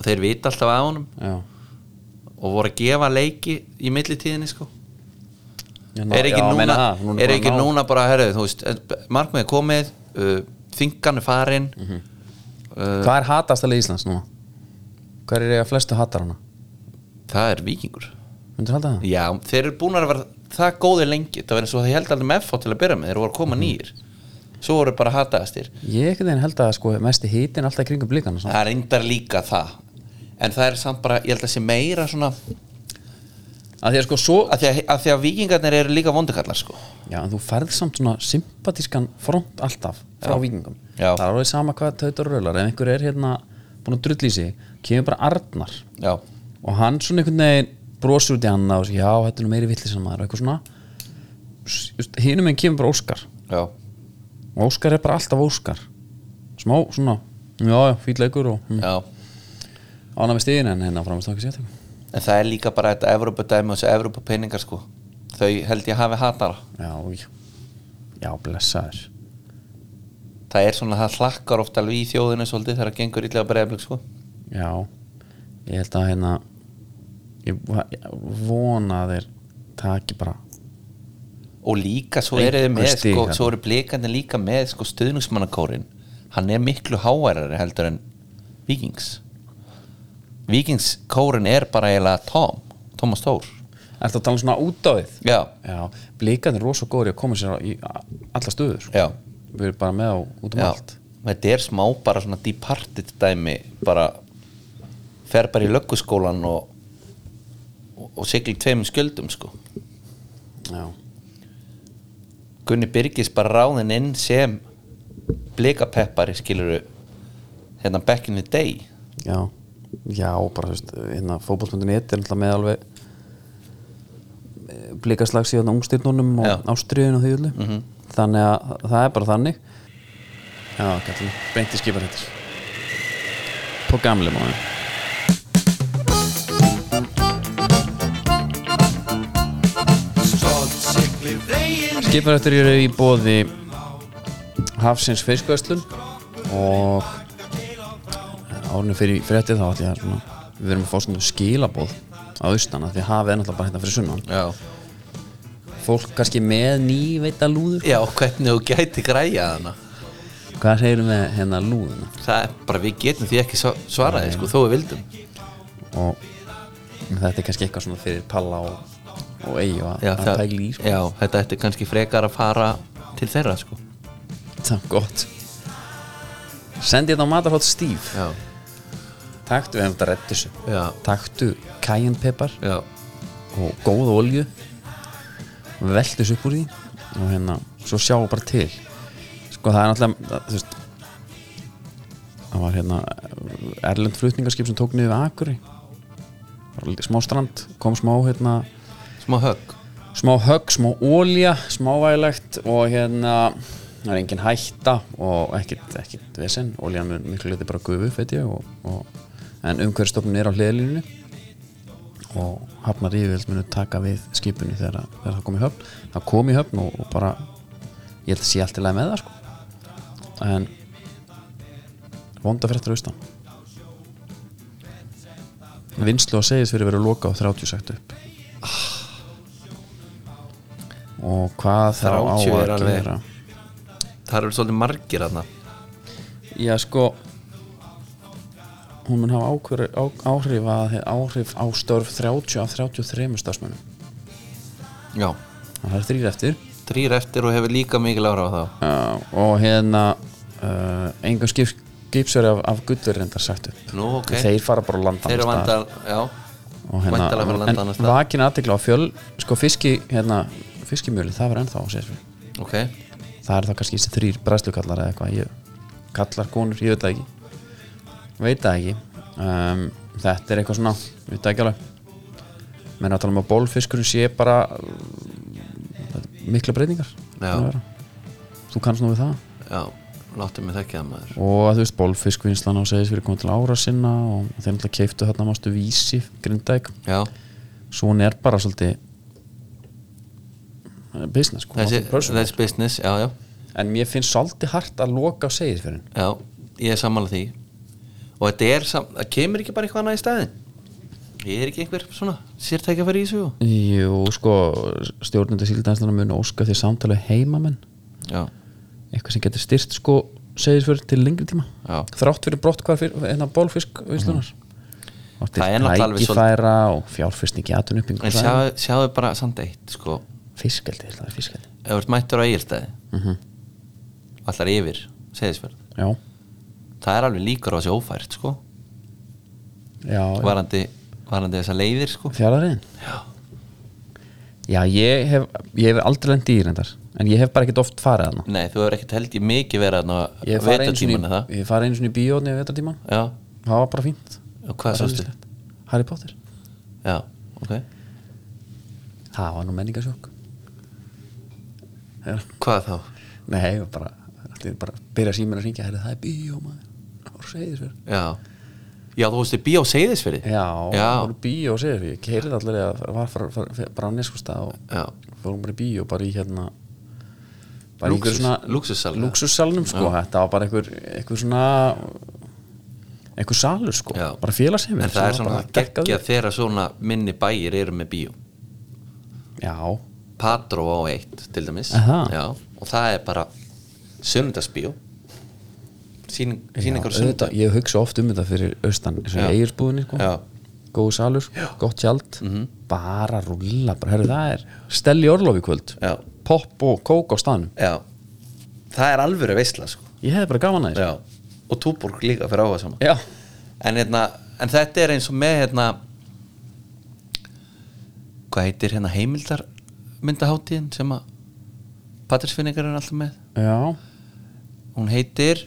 [SPEAKER 2] og þeir vita alltaf að honum
[SPEAKER 1] Já,
[SPEAKER 2] og voru að gefa leiki í millitíðinni sko
[SPEAKER 1] Já, ná-
[SPEAKER 2] er ekki,
[SPEAKER 1] Hérna, já,
[SPEAKER 2] núna,
[SPEAKER 1] meina það, núna
[SPEAKER 2] er
[SPEAKER 1] bara
[SPEAKER 2] ekki
[SPEAKER 1] ná-
[SPEAKER 2] núna bara herrið, þú veist, eh, markmiðið er komið uh, þingan er farin
[SPEAKER 1] Hvað er hatast að leið Íslands núna? Hvað er eiga flestu hatar hana?
[SPEAKER 2] það er vikingur
[SPEAKER 1] Myndur halda það?
[SPEAKER 2] Já, þeir eru búin að vera það góði lengi Það verður svo að ég held aldrei með FH til að byrja með Þeir voru að koma nýjir Svo voru bara hataðastir
[SPEAKER 1] Ég ekki þeim held að sko mesti hitin alltaf í kringum blíkana
[SPEAKER 2] Það er endar líka það En það er samt bara, ég held að sé meira svona
[SPEAKER 1] að Því að sko svo
[SPEAKER 2] Af því að, að, því að vikingarnir eru líka vondukallar sko
[SPEAKER 1] Já, en þú færð samt svona sympatískan front alltaf frá vikingum
[SPEAKER 2] Já.
[SPEAKER 1] Það er alveg sama hvað tautar og raular ef einhver er hérna búin að drull í sig kemur bara Arnar
[SPEAKER 2] Já,
[SPEAKER 1] og hann svona einhvern veginn brosur út í hann og segir já, þetta er nú meiri villisann maður og eitthvað svona hinum en kemur bara Óskar
[SPEAKER 2] já,
[SPEAKER 1] og Óskar er bara alltaf Óskar smá svona, já, já, fýll leikur og mm,
[SPEAKER 2] já
[SPEAKER 1] ána með stíðin en hérna framist þá ekki sér já,
[SPEAKER 2] En það er líka bara þetta Evrópa dæmi og þessi Evrópa peningar sko Þau held ég hafi hatara
[SPEAKER 1] já, já, blessaður
[SPEAKER 2] Það er svona, það hlakkar oft alveg í þjóðinu svolítið þegar það gengur illa að breyðablik sko
[SPEAKER 1] já, ég held að hérna ég va- ég vona að þeir taki bara
[SPEAKER 2] og líka svo eru þið með
[SPEAKER 1] Einhver stig
[SPEAKER 2] sko,
[SPEAKER 1] þarna.
[SPEAKER 2] svo eru blikandi líka með sko, stuðningsmannakórin hann er miklu háværari heldur en vikings vikingskórin er bara eiginlega Tom, Thomas Thor
[SPEAKER 1] Ertu að tala um svona út á þið?
[SPEAKER 2] já,
[SPEAKER 1] Já, blíkandir er rosa góður í að koma sér á- í a- alla stöður sko.
[SPEAKER 2] já,
[SPEAKER 1] Við erum bara með á út um
[SPEAKER 2] já
[SPEAKER 1] allt
[SPEAKER 2] þetta er smá bara svona departed dæmi bara fer bara í lögguskólan og, og, og sigli tveim skjöldum sko
[SPEAKER 1] Já,
[SPEAKER 2] Gunni Birgis bara ráðin inn sem blikapeppari skiluru hérna back in the day
[SPEAKER 1] já, já bara þú veist, hérna fótboll.net er náttúrulega með alveg blíkaslags í hérna ungstyrnunum
[SPEAKER 2] Já.
[SPEAKER 1] og ástriðin og því öllu -hmm. Þannig að það er bara þannig Já, kallum, beinti skipar hittir På gamle mánu Skiparættur eru í bóði Hafsins fiskvæslun og árinu fyrir fréttið þá ætla ég að svona, við erum að fá svona skilabóð á austan af því að hafið er náttúrulega bara hérna fyrir sunnan
[SPEAKER 2] já
[SPEAKER 1] fólk kannski með nýveita lúður
[SPEAKER 2] Já, hvernig þú gæti græja þarna
[SPEAKER 1] hvað segir við hérna lúðuna
[SPEAKER 2] Það er bara, við getum því ekki sva- svarað því, sko, þó við vildum
[SPEAKER 1] og þetta er kannski eitthvað svona fyrir palla og, og eigi að,
[SPEAKER 2] já,
[SPEAKER 1] að pæla í sko.
[SPEAKER 2] já, þetta ætti kannski frekar að fara til þeirra, sko
[SPEAKER 1] það er gott sendi þetta á matarhótt stíf
[SPEAKER 2] Já,
[SPEAKER 1] taktu, við hefum þetta rett þessu
[SPEAKER 2] já,
[SPEAKER 1] taktu kæjanpepar
[SPEAKER 2] já,
[SPEAKER 1] og góða olju veldu þessu upp úr því og hérna, svo sjáum bara til sko það er náttúrulega það, þú veist það var hérna erlend flutningarskip sem tók niður við Akuri bara lítið smá strand kom smá hérna
[SPEAKER 2] smá högg
[SPEAKER 1] smá högg, smá olja smávælegt og hérna það er engin hætta og ekkit, ekkit vesen, olja mun miklu liti bara gufu veit ég og, og en umhverfstofnun er á hliðalínu og hafnar yfirvöld munu taka við skipinu þegar, þegar það kom í höfn það kom í höfn og, og bara ég held að sé allt í lagi með það sko en vonda fyrir þetta austan vinslu að segja fyrir að vera loka og 30 sagt upp og hvað þá á
[SPEAKER 2] 30 er
[SPEAKER 1] að
[SPEAKER 2] alveg-
[SPEAKER 1] gera
[SPEAKER 2] Það eru svolítið margir þarna
[SPEAKER 1] já sko hún mun hafa ákvör, á, áhrif, að, áhrif á störf 30 af 33 starfsmönnum
[SPEAKER 2] Já,
[SPEAKER 1] það er þrýr eftir
[SPEAKER 2] þrýr eftir og hefur líka mikil ára á þá
[SPEAKER 1] uh, og hérna uh, engum skip, skipsverði af, af gullur reyndar sagt upp
[SPEAKER 2] Nú, ok,
[SPEAKER 1] þeir fara bara að landa
[SPEAKER 2] þeir eru
[SPEAKER 1] annars staðar.
[SPEAKER 2] vandar, já
[SPEAKER 1] og
[SPEAKER 2] væntanlega fara að landa
[SPEAKER 1] hérna,
[SPEAKER 2] annars
[SPEAKER 1] en
[SPEAKER 2] staðar.
[SPEAKER 1] vakin aðtekla á fjöl sko fiski, hérna, fiskimjöli það var ennþá á sérsfjöl
[SPEAKER 2] Ok,
[SPEAKER 1] það er þá kannski þessi þrýr bræðslukallar eða eitthvað ég, kallar konur, ég veit það ekki veit það ekki um, þetta er eitthvað svona, ég veit það ekki alveg menn að tala um að bólfiskurinn sé bara uh, þetta er mikla breytingar
[SPEAKER 2] Já.
[SPEAKER 1] búin að vera. þú kannst nú við það
[SPEAKER 2] já, láttu mig þekkja það maður
[SPEAKER 1] og að þú veist, bólfiskvinnslan á segis fyrir komið til ára sinna og þeim alltaf keiftu þarna mástu vísi, grindæk
[SPEAKER 2] Já,
[SPEAKER 1] svo hún er bara svolítið Það er business sko,
[SPEAKER 2] þessi,
[SPEAKER 1] það er personal.
[SPEAKER 2] þessi business, já, já
[SPEAKER 1] en mér finnst svolítið hart að loka á segirfjörðin
[SPEAKER 2] já, ég er sammála því og þetta er, sam- það kemur ekki bara eitthvað annað í staðin ég er ekki einhver svona sértækja fyrir í þessu og-
[SPEAKER 1] Jú, sko, stjórnundu síldanslana mun óska því samtala heimamenn
[SPEAKER 2] já,
[SPEAKER 1] eitthvað sem getur styrt sko segirfjörð til lengri tíma
[SPEAKER 2] Já. Mm.
[SPEAKER 1] þrátt fyrir brott hvað fyrir hérna bólfisk vislunar og til
[SPEAKER 2] Það er náttúrulega alveg
[SPEAKER 1] tækifæra og fjárfyrsting í atun uppbygg
[SPEAKER 2] en sjáðu, sjáðu bara samt eitt, sko
[SPEAKER 1] fiskeldi, það er fiskeldi
[SPEAKER 2] ef þú ert mættur á eigilstæði
[SPEAKER 1] mm
[SPEAKER 2] allar yfir, segðisverð
[SPEAKER 1] já,
[SPEAKER 2] það er alveg líkur á þessi ófært, sko
[SPEAKER 1] já,
[SPEAKER 2] varandi, varandi þessa leiðir, sko
[SPEAKER 1] fjárariðin
[SPEAKER 2] já,
[SPEAKER 1] já, ég hef, ég hef aldrei lent í reyndar en ég hef bara ekkert oft farið þarna
[SPEAKER 2] nei, þú hefur ekkert held ég mikið verið þarna á
[SPEAKER 1] ég farið einu sinni
[SPEAKER 2] vetartímann, er það
[SPEAKER 1] í- ég farið einu sinni í bíóðni á vetartíman
[SPEAKER 2] já,
[SPEAKER 1] það var bara fínt
[SPEAKER 2] og hvað
[SPEAKER 1] Bara
[SPEAKER 2] sástu?
[SPEAKER 1] ýmislegt. Harry Potter
[SPEAKER 2] já, ok
[SPEAKER 1] það var nú menningasjók já
[SPEAKER 2] hvað þá?
[SPEAKER 1] Nei, ég var bara, allt í einu bara byrja síminn að syngja, herri, það er bíó maður og segir þess verið
[SPEAKER 2] já, já, þú veist, bí á segðisverði
[SPEAKER 1] Já,
[SPEAKER 2] já,
[SPEAKER 1] það voru bíó og segir því ég keirið allir að var fara, fara, fara, bara á neskusta og
[SPEAKER 2] já,
[SPEAKER 1] fórum bara í bíó bara í hérna bara
[SPEAKER 2] Lúxus-
[SPEAKER 1] einhver svona-
[SPEAKER 2] lúxussalnum.
[SPEAKER 1] lúxussalnum, sko, þetta var bara einhver, einhver svona einhver salur sko,
[SPEAKER 2] Já.
[SPEAKER 1] bara félagsheimil
[SPEAKER 2] en
[SPEAKER 1] sem
[SPEAKER 2] það er
[SPEAKER 1] var
[SPEAKER 2] svona
[SPEAKER 1] bara
[SPEAKER 2] geggja
[SPEAKER 1] geggaður.
[SPEAKER 2] þegar svona minni bæir eru með bíó
[SPEAKER 1] Já,
[SPEAKER 2] Patró á eitt til dæmis
[SPEAKER 1] Aha.
[SPEAKER 2] já, og það er bara sunnundasbíó síning,
[SPEAKER 1] já
[SPEAKER 2] síningar á
[SPEAKER 1] auðvitað,
[SPEAKER 2] sunnundar
[SPEAKER 1] ég hugsa oft um þetta fyrir austan, eins og
[SPEAKER 2] Já.
[SPEAKER 1] eigirsbúðinni sko,
[SPEAKER 2] Já. Mhm.
[SPEAKER 1] góð salur, gott tjald bara rúlla, bara, herri, það er Stelli Orlof í kvöld
[SPEAKER 2] já,
[SPEAKER 1] popp og kók á staðnum
[SPEAKER 2] já, það er alvöru veistla sko.
[SPEAKER 1] ég hefði bara gaman að þessu
[SPEAKER 2] já, og túborg líka fyrir áhuga saman
[SPEAKER 1] já.
[SPEAKER 2] en, hérna, en þetta er eins og með hérna, hvað heitir hérna heimildar myndaháttíðin sem að Patrísfinningar er alltaf með
[SPEAKER 1] já,
[SPEAKER 2] hún heitir,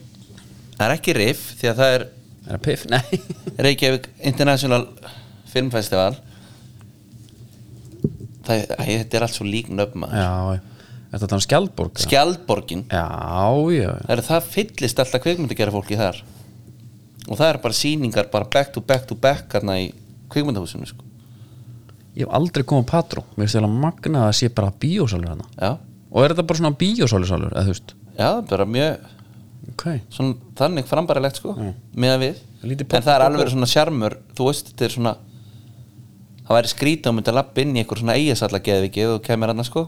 [SPEAKER 2] það er ekki RIF því að það er
[SPEAKER 1] er það piff? [laughs] Nei
[SPEAKER 2] Reykjavík International Film Festival það, æ, þetta er allt svo lík nöfn maður
[SPEAKER 1] já, er þetta hann um Skjaldborg? eða?
[SPEAKER 2] Skjaldborgin,
[SPEAKER 1] já, já,
[SPEAKER 2] það, er, það fyllist alltaf kvikmyndagera fólki þar og það eru bara sýningar bara back to back to back hérna í kvikmyndahúsinu sko.
[SPEAKER 1] ég hef aldrei komið á patró mér er stjálega magnað að það sé bara bíósalur hana
[SPEAKER 2] já,
[SPEAKER 1] og er þetta bara svona bíósalusalur, eða þú veist
[SPEAKER 2] já, bara mjög
[SPEAKER 1] ok,
[SPEAKER 2] svona, þannig frambarilegt sko með að við,
[SPEAKER 1] Lítið popp-
[SPEAKER 2] en það er
[SPEAKER 1] popp-
[SPEAKER 2] alveg svona sjarmur, þú veist, þetta er svona það væri skrítið og myndi að lappa inn í einhver svona eigasallageðviki og kemur annars sko,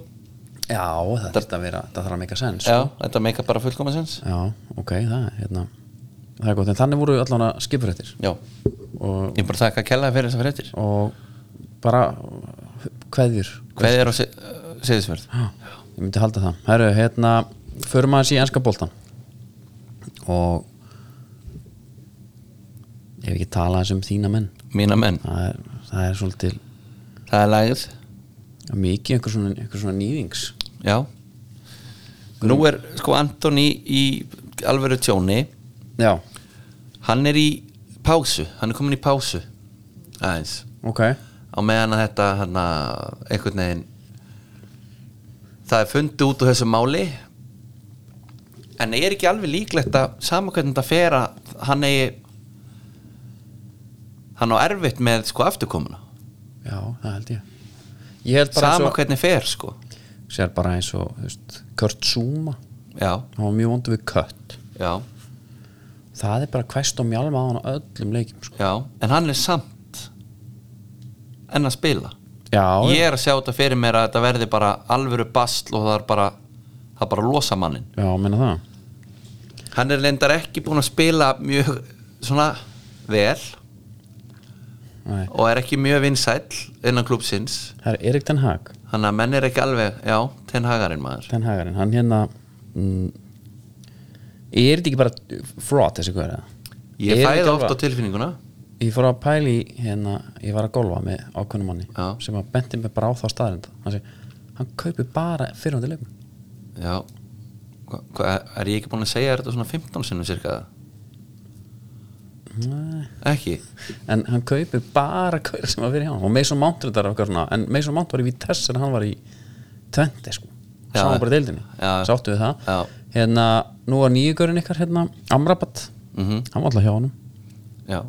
[SPEAKER 1] já, það þarf að vera það þarf að meika sens
[SPEAKER 2] já, þetta meika bara fullkomasins
[SPEAKER 1] já, ok, það er hérna það er gott, en þannig voru allan að skipurættir
[SPEAKER 2] já,
[SPEAKER 1] og,
[SPEAKER 2] Ég er bara að þakka að kella fyrir þessar fréttir
[SPEAKER 1] og bara kveðjur
[SPEAKER 2] Hvað er á Se- uh, Seyðisfjörð?
[SPEAKER 1] Já, ég myndi halda það Herru, hérna, förum aðeins í enska boltan og ef ekki tala aðeins um þína menn
[SPEAKER 2] Mína menn,
[SPEAKER 1] það er, það er svolítil
[SPEAKER 2] það er lagið
[SPEAKER 1] mikið einhver svona, einhver svona nýðings
[SPEAKER 2] Já Nú er sko Antoni í alvöru tjóni
[SPEAKER 1] Já,
[SPEAKER 2] Hann er í pásu, hann er komin í pásu Aðeins
[SPEAKER 1] ok
[SPEAKER 2] Á meðan að þetta hann einhvern veginn Það er fundið út úr þessu máli En er ekki alveg líklegt að sama hvernig þetta fer að hann eigi hann á erfitt með sko afturkomuna
[SPEAKER 1] Já, það held ég Ég held bara
[SPEAKER 2] sama
[SPEAKER 1] eins og
[SPEAKER 2] hvernig fer sko
[SPEAKER 1] Sér bara eins og, þú veist, Kurt Zuma
[SPEAKER 2] já,
[SPEAKER 1] hann var mjög vondur við Kurt
[SPEAKER 2] já,
[SPEAKER 1] Það er bara hverst og mjálma á hann á öllum leikjum sko.
[SPEAKER 2] já en hann er samt enn að spila
[SPEAKER 1] Já,
[SPEAKER 2] ég er að sjá þetta fyrir mér að þetta verði bara alvöru basl og það er bara það er bara að losa mannin
[SPEAKER 1] já, menna það
[SPEAKER 2] hann er lendar ekki búin að spila mjög svona vel
[SPEAKER 1] Nei.
[SPEAKER 2] og er ekki mjög vinsæll innan klúpsins
[SPEAKER 1] Það er Erik Den Haag
[SPEAKER 2] þannig að menn er ekki alveg, já, ten hagarinn maður
[SPEAKER 1] Ten Hagarinn, hann hérna mm, er þetta ekki bara fraud þessi hverja?
[SPEAKER 2] ég fæði oft á tilfinninguna
[SPEAKER 1] Ég fór að pæla í hérna, ég var að golfa með ákveðnum manni
[SPEAKER 2] Já.
[SPEAKER 1] sem að benti mig bara á þá staðarind hann segi, hann kaupir bara fyrrandi leikum
[SPEAKER 2] já, hva, hva, er ég ekki búin að segja þér þetta svona 15 sinnum cirka ekki
[SPEAKER 1] en hann kaupir bara hverja sem að fyrir hjá hann og Mason Mount er þetta eitthvað svona en Mason Mount var í Vitesse en hann var í 20 sko,
[SPEAKER 2] Já.
[SPEAKER 1] sá hann bara í deildinni
[SPEAKER 2] Já.
[SPEAKER 1] sáttu við það
[SPEAKER 2] Já.
[SPEAKER 1] hérna, nú var nýjugurinn ykkar hérna, Amrabat
[SPEAKER 2] mhm
[SPEAKER 1] hann var alltaf hjá honum
[SPEAKER 2] já.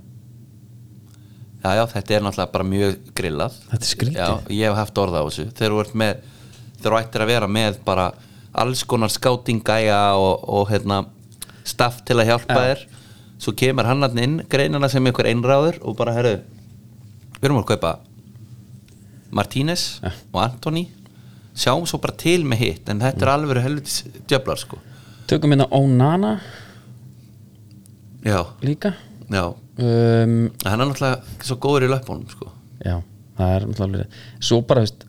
[SPEAKER 2] já, já, þetta er náttúrulega bara mjög grillað
[SPEAKER 1] Þetta er skrítið.
[SPEAKER 2] Já, ég hef haft orða á þessu Þegar þú ert með þegar þú ættir að vera með bara alls konar skátingæja og, og hérna staff til að hjálpa
[SPEAKER 1] Já.
[SPEAKER 2] þér svo kemur hann hann inn greinana sem ykkur einráður og bara herru við erum að kaupa Martínez
[SPEAKER 1] Já.
[SPEAKER 2] og Antoni sjáum svo bara til með hitt en þetta er
[SPEAKER 1] Mm.
[SPEAKER 2] alveg helvitis djöflar sko
[SPEAKER 1] tökum hérna Onana
[SPEAKER 2] já,
[SPEAKER 1] líka
[SPEAKER 2] já
[SPEAKER 1] um,
[SPEAKER 2] hann er náttúrulega svo góður í löpunum sko
[SPEAKER 1] já, það er náttúrulega alveg- svo bara, veist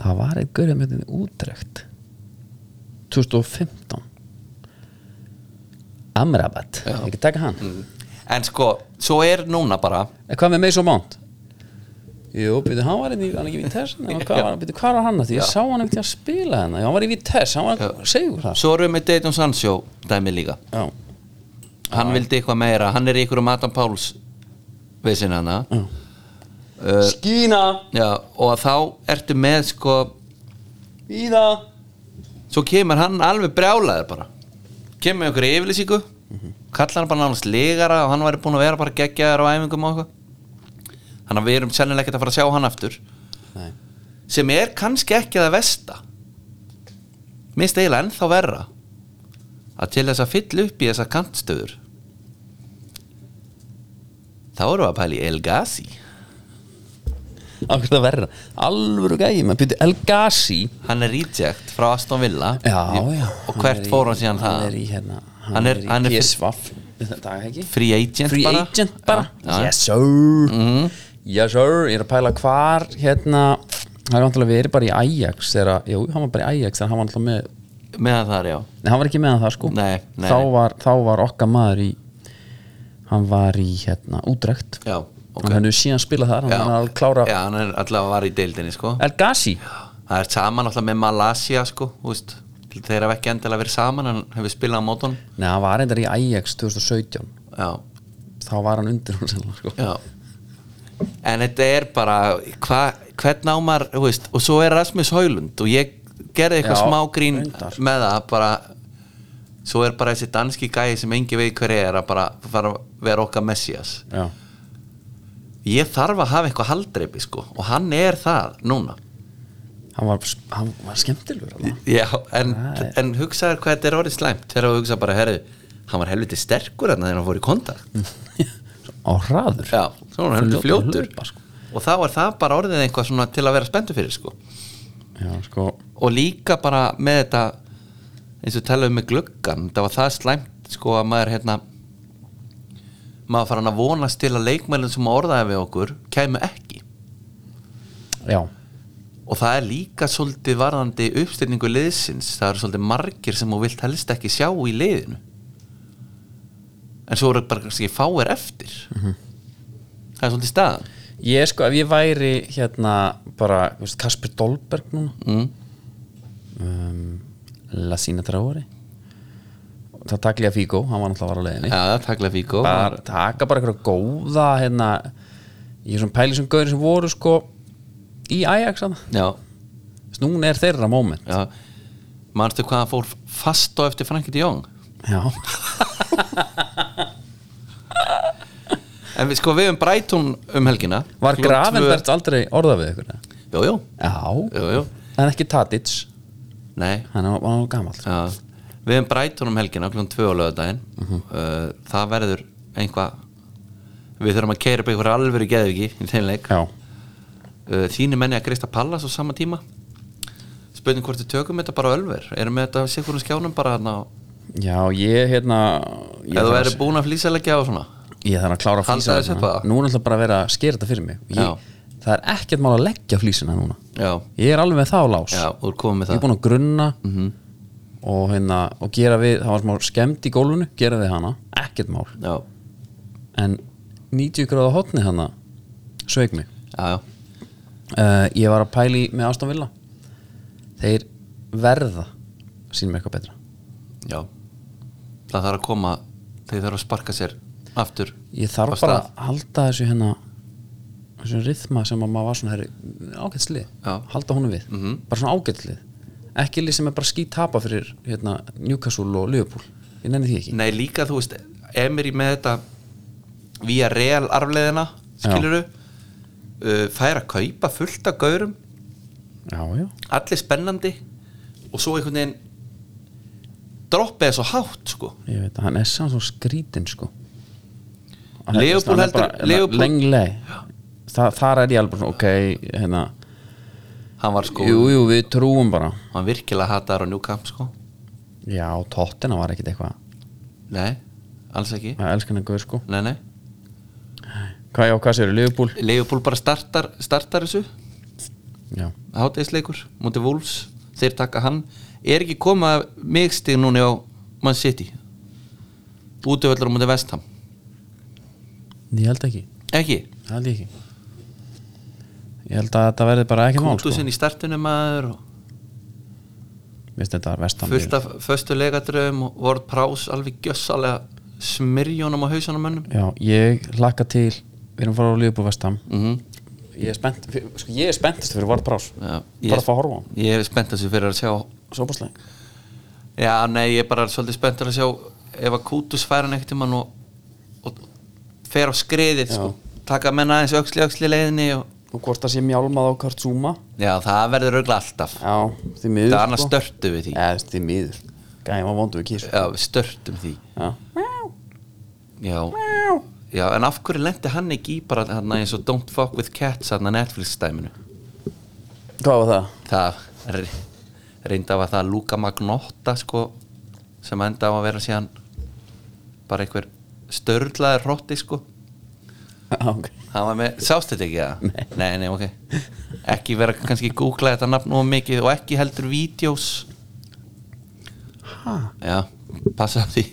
[SPEAKER 1] það var eitt gaurið með þetta útrekt 2015 Amrabat
[SPEAKER 2] Já. Mm.
[SPEAKER 1] ekki taka hann
[SPEAKER 2] en sko, svo er núna bara
[SPEAKER 1] En hvað með Mason Mount? Jú, byrju, hann var hérna í- hann ekki í Vitesse en hvað var, byrju, hvað var hann að því? Ég sá hann ekkert að spila hérna, Já, hann var í Vitesse, hann var
[SPEAKER 2] Já.
[SPEAKER 1] segur það
[SPEAKER 2] svo erum við Dayton Sancho dæmi líka
[SPEAKER 1] Já,
[SPEAKER 2] hann vildi eitthvað meira, hann er í ykkur um Adam Páls vissin hana uh,
[SPEAKER 1] Skína
[SPEAKER 2] já, og þá ertu með sko
[SPEAKER 1] í það
[SPEAKER 2] svo kemur hann alveg brjálaður bara kemur með ykkur í yfirlýsingu kallar hann bara nánast ligara og hann væri búin að vera bara geggjaður á æfingum og eitthvað þannig að við erum sennilega ekkert að fara að sjá hann aftur
[SPEAKER 1] Nei.
[SPEAKER 2] sem er kannski ekki það vesta minnst eiginlega ennþá verra að til þess að fylla upp í þessa kantstöður þá erum við að pæla í El Gassi
[SPEAKER 1] Akkur það verra, alvöru gæði maður byrju El Gassi
[SPEAKER 2] hann er reject frá Aston Villa
[SPEAKER 1] Já,
[SPEAKER 2] Ég-
[SPEAKER 1] já
[SPEAKER 2] og
[SPEAKER 1] hann
[SPEAKER 2] hvert
[SPEAKER 1] er í-
[SPEAKER 2] fór hann síðan það
[SPEAKER 1] Hann er í hérna,
[SPEAKER 2] Hann er- hann er-
[SPEAKER 1] í PSVaf Þetta er ekki
[SPEAKER 2] free agent
[SPEAKER 1] Free
[SPEAKER 2] bara
[SPEAKER 1] agent bara
[SPEAKER 2] já, Mhm. já.
[SPEAKER 1] Yes sir Yes sir, ég er að pæla hvar hérna Það er vantilega verið bara í Ajax þegar að, Jú, hann var bara í Ajax þegar hann var alltaf með
[SPEAKER 2] meðan það er já
[SPEAKER 1] Nei, hann var ekki meðan það sko
[SPEAKER 2] Nei, nei.
[SPEAKER 1] Þá, var, þá var okkar maður í Hann var í hérna útrekt
[SPEAKER 2] já, ok
[SPEAKER 1] Hann hefði síðan spilað þar, hann
[SPEAKER 2] já,
[SPEAKER 1] var að klára
[SPEAKER 2] já, hann er allavega var í deildinni sko
[SPEAKER 1] El Gassi
[SPEAKER 2] það er saman alltaf með Malasia sko þú veist. þeir hafa ekki endilega verið saman hann hefur spilað á mótun
[SPEAKER 1] Nei, hann var reyndar í Ajax 2017
[SPEAKER 2] já,
[SPEAKER 1] Þá var hann undir hún sem sko
[SPEAKER 2] Já En þetta er bara hva, hvern á maður, þú veist og svo er Rasmus Haulund og ég gerði eitthvað
[SPEAKER 1] Já,
[SPEAKER 2] smá grín
[SPEAKER 1] reyndar.
[SPEAKER 2] með það bara, svo er bara þessi danski gæi sem engi veit hver er að bara fara að vera okkar messias
[SPEAKER 1] Já,
[SPEAKER 2] ég þarf að hafa eitthvað haldreipi sko og hann er það núna
[SPEAKER 1] hann var, hann var skemmtilegur alveg.
[SPEAKER 2] Já, en,
[SPEAKER 1] Það
[SPEAKER 2] en hugsaður hvað þetta er orðið slæmt þegar þú hugsa bara, herru, hann var helviti sterkur þarna þegar hann fór í kontakt
[SPEAKER 1] Á hraður
[SPEAKER 2] Já, svo er hann helviti
[SPEAKER 1] Mm. Fljótur að
[SPEAKER 2] fljótur
[SPEAKER 1] hlaupa, sko.
[SPEAKER 2] og þá er það bara orðið eitthvað svona til að vera spenntu fyrir sko
[SPEAKER 1] Já, sko
[SPEAKER 2] og líka bara með þetta eins og talaðum með gluggan það var það slæmt sko að maður hérna maður fara hann að vonast til að leikmælinn sem orðaði við okkur kæmu ekki
[SPEAKER 1] Já,
[SPEAKER 2] og það er líka svolítið varðandi uppstilningu liðsins það eru svolítið margir sem þú vilt helst ekki sjá í liðinu en svo eru bara kannski fáir eftir það er svolítið staðan
[SPEAKER 1] ég sko ef ég væri hérna bara, þú veist, Kasper Dolberg núna
[SPEAKER 2] mm.
[SPEAKER 1] um, Lassina Traori það takli að Figo hann var náttúrulega var á leiðinni
[SPEAKER 2] Já, takla fíkó
[SPEAKER 1] bara, taka bara eitthvað góða hérna, ég er svona pæli sem gauðin sem voru sko í Ajax þarna.
[SPEAKER 2] Já,
[SPEAKER 1] Þú veist, núna er þeirra moment
[SPEAKER 2] já Manstu hvað hann fór fast á eftir Frankie de Jong?
[SPEAKER 1] já,
[SPEAKER 2] En við sko við um Brighton um helgina
[SPEAKER 1] var
[SPEAKER 2] Klukkan
[SPEAKER 1] Gravenberts aldrei orða við ykkur eða?
[SPEAKER 2] tvö- Jú, jú,
[SPEAKER 1] já,
[SPEAKER 2] jú, jú,
[SPEAKER 1] en ekki Tadic
[SPEAKER 2] nei
[SPEAKER 1] hann var, hann var gamall
[SPEAKER 2] já. Við um Brighton um helgina klukkan tvö á lögadaginn
[SPEAKER 1] Mhm.
[SPEAKER 2] uh, Það verður einhvað Við þurfum að keira upp einhver alvöru geðviki í þeim leik
[SPEAKER 1] já,
[SPEAKER 2] uh, Þínu menni að Krista Pallas á sama tíma Spurning hvort við tökum þetta bara á ölver Erum við þetta sikur um skjánum bara þarna á-
[SPEAKER 1] já, ég hérna ég
[SPEAKER 2] Ef þú
[SPEAKER 1] þarf
[SPEAKER 2] verður búin að flýsaleggja og svona
[SPEAKER 1] að- ég þarf að klára
[SPEAKER 2] Halda
[SPEAKER 1] flýsa
[SPEAKER 2] þessu upp
[SPEAKER 1] þarna.
[SPEAKER 2] að-
[SPEAKER 1] nú er alltaf bara að vera að skera þetta fyrir mig
[SPEAKER 2] Já.
[SPEAKER 1] ég, það er ekkert mál að leggja flýsina núna
[SPEAKER 2] Já,
[SPEAKER 1] ég er alveg með það á lás
[SPEAKER 2] já, úr komið með
[SPEAKER 1] ég
[SPEAKER 2] það Mhm.
[SPEAKER 1] er búinn að grunna og, hérna, og gera við, það var smá skemmt í gólfinu gera við hana, ekkert mál
[SPEAKER 2] Já,
[SPEAKER 1] en 90 gráða hotni hana sveik mig
[SPEAKER 2] já, já
[SPEAKER 1] uh, ég var að pæli með Aston Villa þeir verða sínum eitthvað betra
[SPEAKER 2] Já Það þarf að koma Þeir þarf að sparka sér aftur
[SPEAKER 1] ég
[SPEAKER 2] Á
[SPEAKER 1] þarf
[SPEAKER 2] stað.
[SPEAKER 1] bara að halda þessu hérna þessu rithma sem að maður var svona ágætslið,
[SPEAKER 2] Já. Mhm.
[SPEAKER 1] halda honum við bara svona ágætslið ekki lið sem er bara skít tapa fyrir hérna, Newcastle og Liverpool, ég nenni því ekki
[SPEAKER 2] Nei líka þú veist Emery með þetta Vía real arfleðina Skiluru uh, Fær að kaupa fullt af gaurum
[SPEAKER 1] já, já,
[SPEAKER 2] allir spennandi og svo einhvern veginn droppið er svo hátt sko
[SPEAKER 1] ég veit að hann er samt svo skrítin sko Hann er-
[SPEAKER 2] Leopold
[SPEAKER 1] hann er bara-
[SPEAKER 2] heldur-
[SPEAKER 1] hérna,
[SPEAKER 2] Leopold-
[SPEAKER 1] lengleg Þa, þar er ég alveg bara svona, ok hérna,
[SPEAKER 2] hann var sko,
[SPEAKER 1] jú, jú, við trúum bara
[SPEAKER 2] hann virkilega hataður á Newcamp sko
[SPEAKER 1] já, tóttina var ekkit eitthvað
[SPEAKER 2] nei, alls ekki
[SPEAKER 1] að elskan að guð sko
[SPEAKER 2] nei, nei,
[SPEAKER 1] hvað, já, hvað séu, Leopold
[SPEAKER 2] Leopold bara startar, startar þessu
[SPEAKER 1] já,
[SPEAKER 2] hátegisleikur, mútið Wolves þeir taka hann, er ekki koma migstig núna á Man City útöfellur á mútið Vestham
[SPEAKER 1] ég held ekki
[SPEAKER 2] ekki,
[SPEAKER 1] Það held ég ekki Ég held að þetta verði bara ekki mál sko.
[SPEAKER 2] kútu sinni í startinu maður og
[SPEAKER 1] Vist þetta er vestan
[SPEAKER 2] fullt af föstu legadröfum og voru prás alveg gjössalega smyrjónum á hausunum mönnum
[SPEAKER 1] Já, ég hlakka til Við erum að fara á Lífubúl vestam
[SPEAKER 2] mm
[SPEAKER 1] Ég er spennt, fyrir- sko, ég er spenntist fyrir Vard Brás
[SPEAKER 2] Já, ég-
[SPEAKER 1] Bara að fá að horfa á hann
[SPEAKER 2] ég hef spennt þessu fyrir að sjá
[SPEAKER 1] Svo búslega
[SPEAKER 2] já, nei, ég er bara svolítið spennt að sjá ef að Kútus fær hann ekkert um hann og, og fer á skriðið sko. taka menn aðeins öxli öxli leiðinni og,
[SPEAKER 1] Og hvort það sé mjálmað á Kartsúma
[SPEAKER 2] já, það verður auðvitað alltaf
[SPEAKER 1] Já, því miður sko.
[SPEAKER 2] það er annars störtu við sko. því
[SPEAKER 1] Já, því miður Gæði, maður vondu við kís
[SPEAKER 2] já, við störtum því
[SPEAKER 1] Já,
[SPEAKER 2] já, já, en af hverju lendi hann ekki í bara hann eins og Don't Fuck With Cats hann að Netflix stæminu
[SPEAKER 1] hvað var það?
[SPEAKER 2] það re- reyndi af að það Luka Magnotta sko, sem enda á að vera síðan bara einhver störlaður hrotti sko
[SPEAKER 1] Já, ok
[SPEAKER 2] hann var með, sástu þetta ekki það? Nei. nei, ok ekki vera kannski googla þetta nafn og mikið og ekki heldur vídeos
[SPEAKER 1] Ha?
[SPEAKER 2] já, passa á því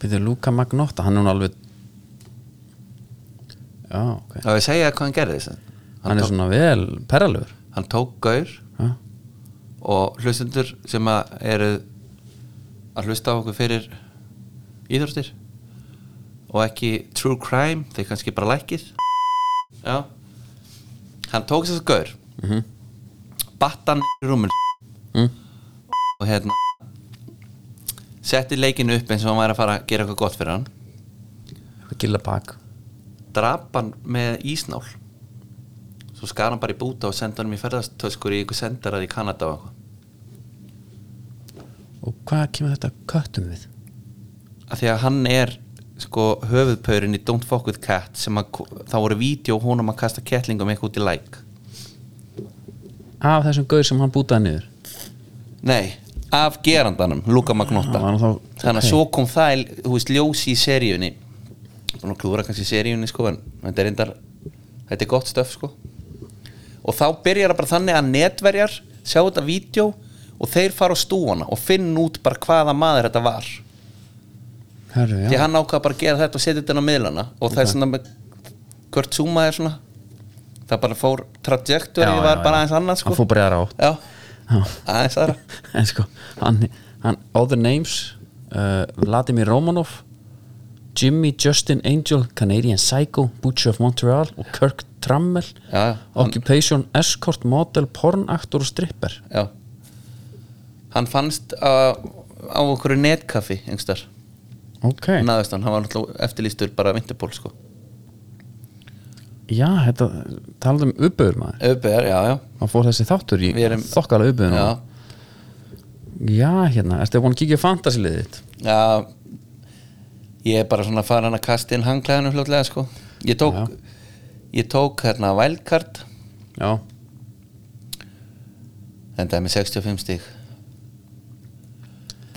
[SPEAKER 1] Býttu Luka Magnotta, hann er hún alveg Já, ok
[SPEAKER 2] þá ég segja hvað hann gerði þess
[SPEAKER 1] Hann er
[SPEAKER 2] hann, tók-
[SPEAKER 1] svona vel perralögur
[SPEAKER 2] hann tók gaur
[SPEAKER 1] Já,
[SPEAKER 2] og hlustendur sem að eru að hlusta á okkur fyrir íþróttir og ekki true crime þeir kannski bara lækið já hann tók þess að gaur mm -hmm. battan í rúmul
[SPEAKER 1] Mm.
[SPEAKER 2] og hérna setti leikinu upp eins og hann væri að fara að gera eitthvað gott fyrir hann
[SPEAKER 1] gilla bak
[SPEAKER 2] drap hann með ísnál svo skar hann bara í búta og sendi hann í ferðastöskur í ykkur sendarað í Kanada og eitthvað
[SPEAKER 1] og hvað kemur þetta köttum við
[SPEAKER 2] að því að hann er sko höfuðpörin í Don't Fuck With Cat sem að þá voru vídeo honum að kasta kettlingum eitthvað út í læk
[SPEAKER 1] af þessum gaur sem hann bútaði niður
[SPEAKER 2] nei, af gerandanum, Luka
[SPEAKER 1] Já,
[SPEAKER 2] Magnotta
[SPEAKER 1] hann þá-
[SPEAKER 2] þannig að
[SPEAKER 1] ok.
[SPEAKER 2] svo kom það í, þú veist, ljós í seríunni búin að klúra kannski seríunni sko en þetta er reyndar, þetta er gott stöf sko og þá byrjar það bara þannig að netverjar sjá þetta vídeo og þeir fara á stúana og finn út bara hvaða maður þetta var
[SPEAKER 1] Herru,
[SPEAKER 2] því
[SPEAKER 1] já,
[SPEAKER 2] hann ákvað bara að gera þetta og setja þetta inn á miðlana og það er svona með Kurt Zuma er svona það bara fór trajectory
[SPEAKER 1] Já, já,
[SPEAKER 2] var
[SPEAKER 1] já.
[SPEAKER 2] bara aðeins annað sko
[SPEAKER 1] hann fór bara í aðra átt
[SPEAKER 2] já,
[SPEAKER 1] Já.
[SPEAKER 2] aðeins aðra
[SPEAKER 1] [laughs] en sko, hann, hann Other Names uh, Vladimir Romanov Jimmy Justin Angel Canadian Psycho, Butcher of Montreal og Kirk Trammell
[SPEAKER 2] Já, já.
[SPEAKER 1] Occupation Escort Model Pornaktor og Stripper
[SPEAKER 2] já. hann fannst á, á okkur netkaffi einhverstar,
[SPEAKER 1] ok,
[SPEAKER 2] náðist hann hann var náttúrulega eftirlýstur bara vinterból sko
[SPEAKER 1] já, þetta talaðu um uppöður maður
[SPEAKER 2] auðbæðar, já, já,
[SPEAKER 1] hann fór þessi þáttur í
[SPEAKER 2] Við erum-
[SPEAKER 1] þokkala uppöður
[SPEAKER 2] já.
[SPEAKER 1] já, hérna, ertu búin að kíkja fantasiliðið þitt
[SPEAKER 2] Já, ég er bara svona farin að kasta inn hangklæðinu fljótlega sko ég tók, ég tók hérna wildcard
[SPEAKER 1] já,
[SPEAKER 2] endaði með 65 stík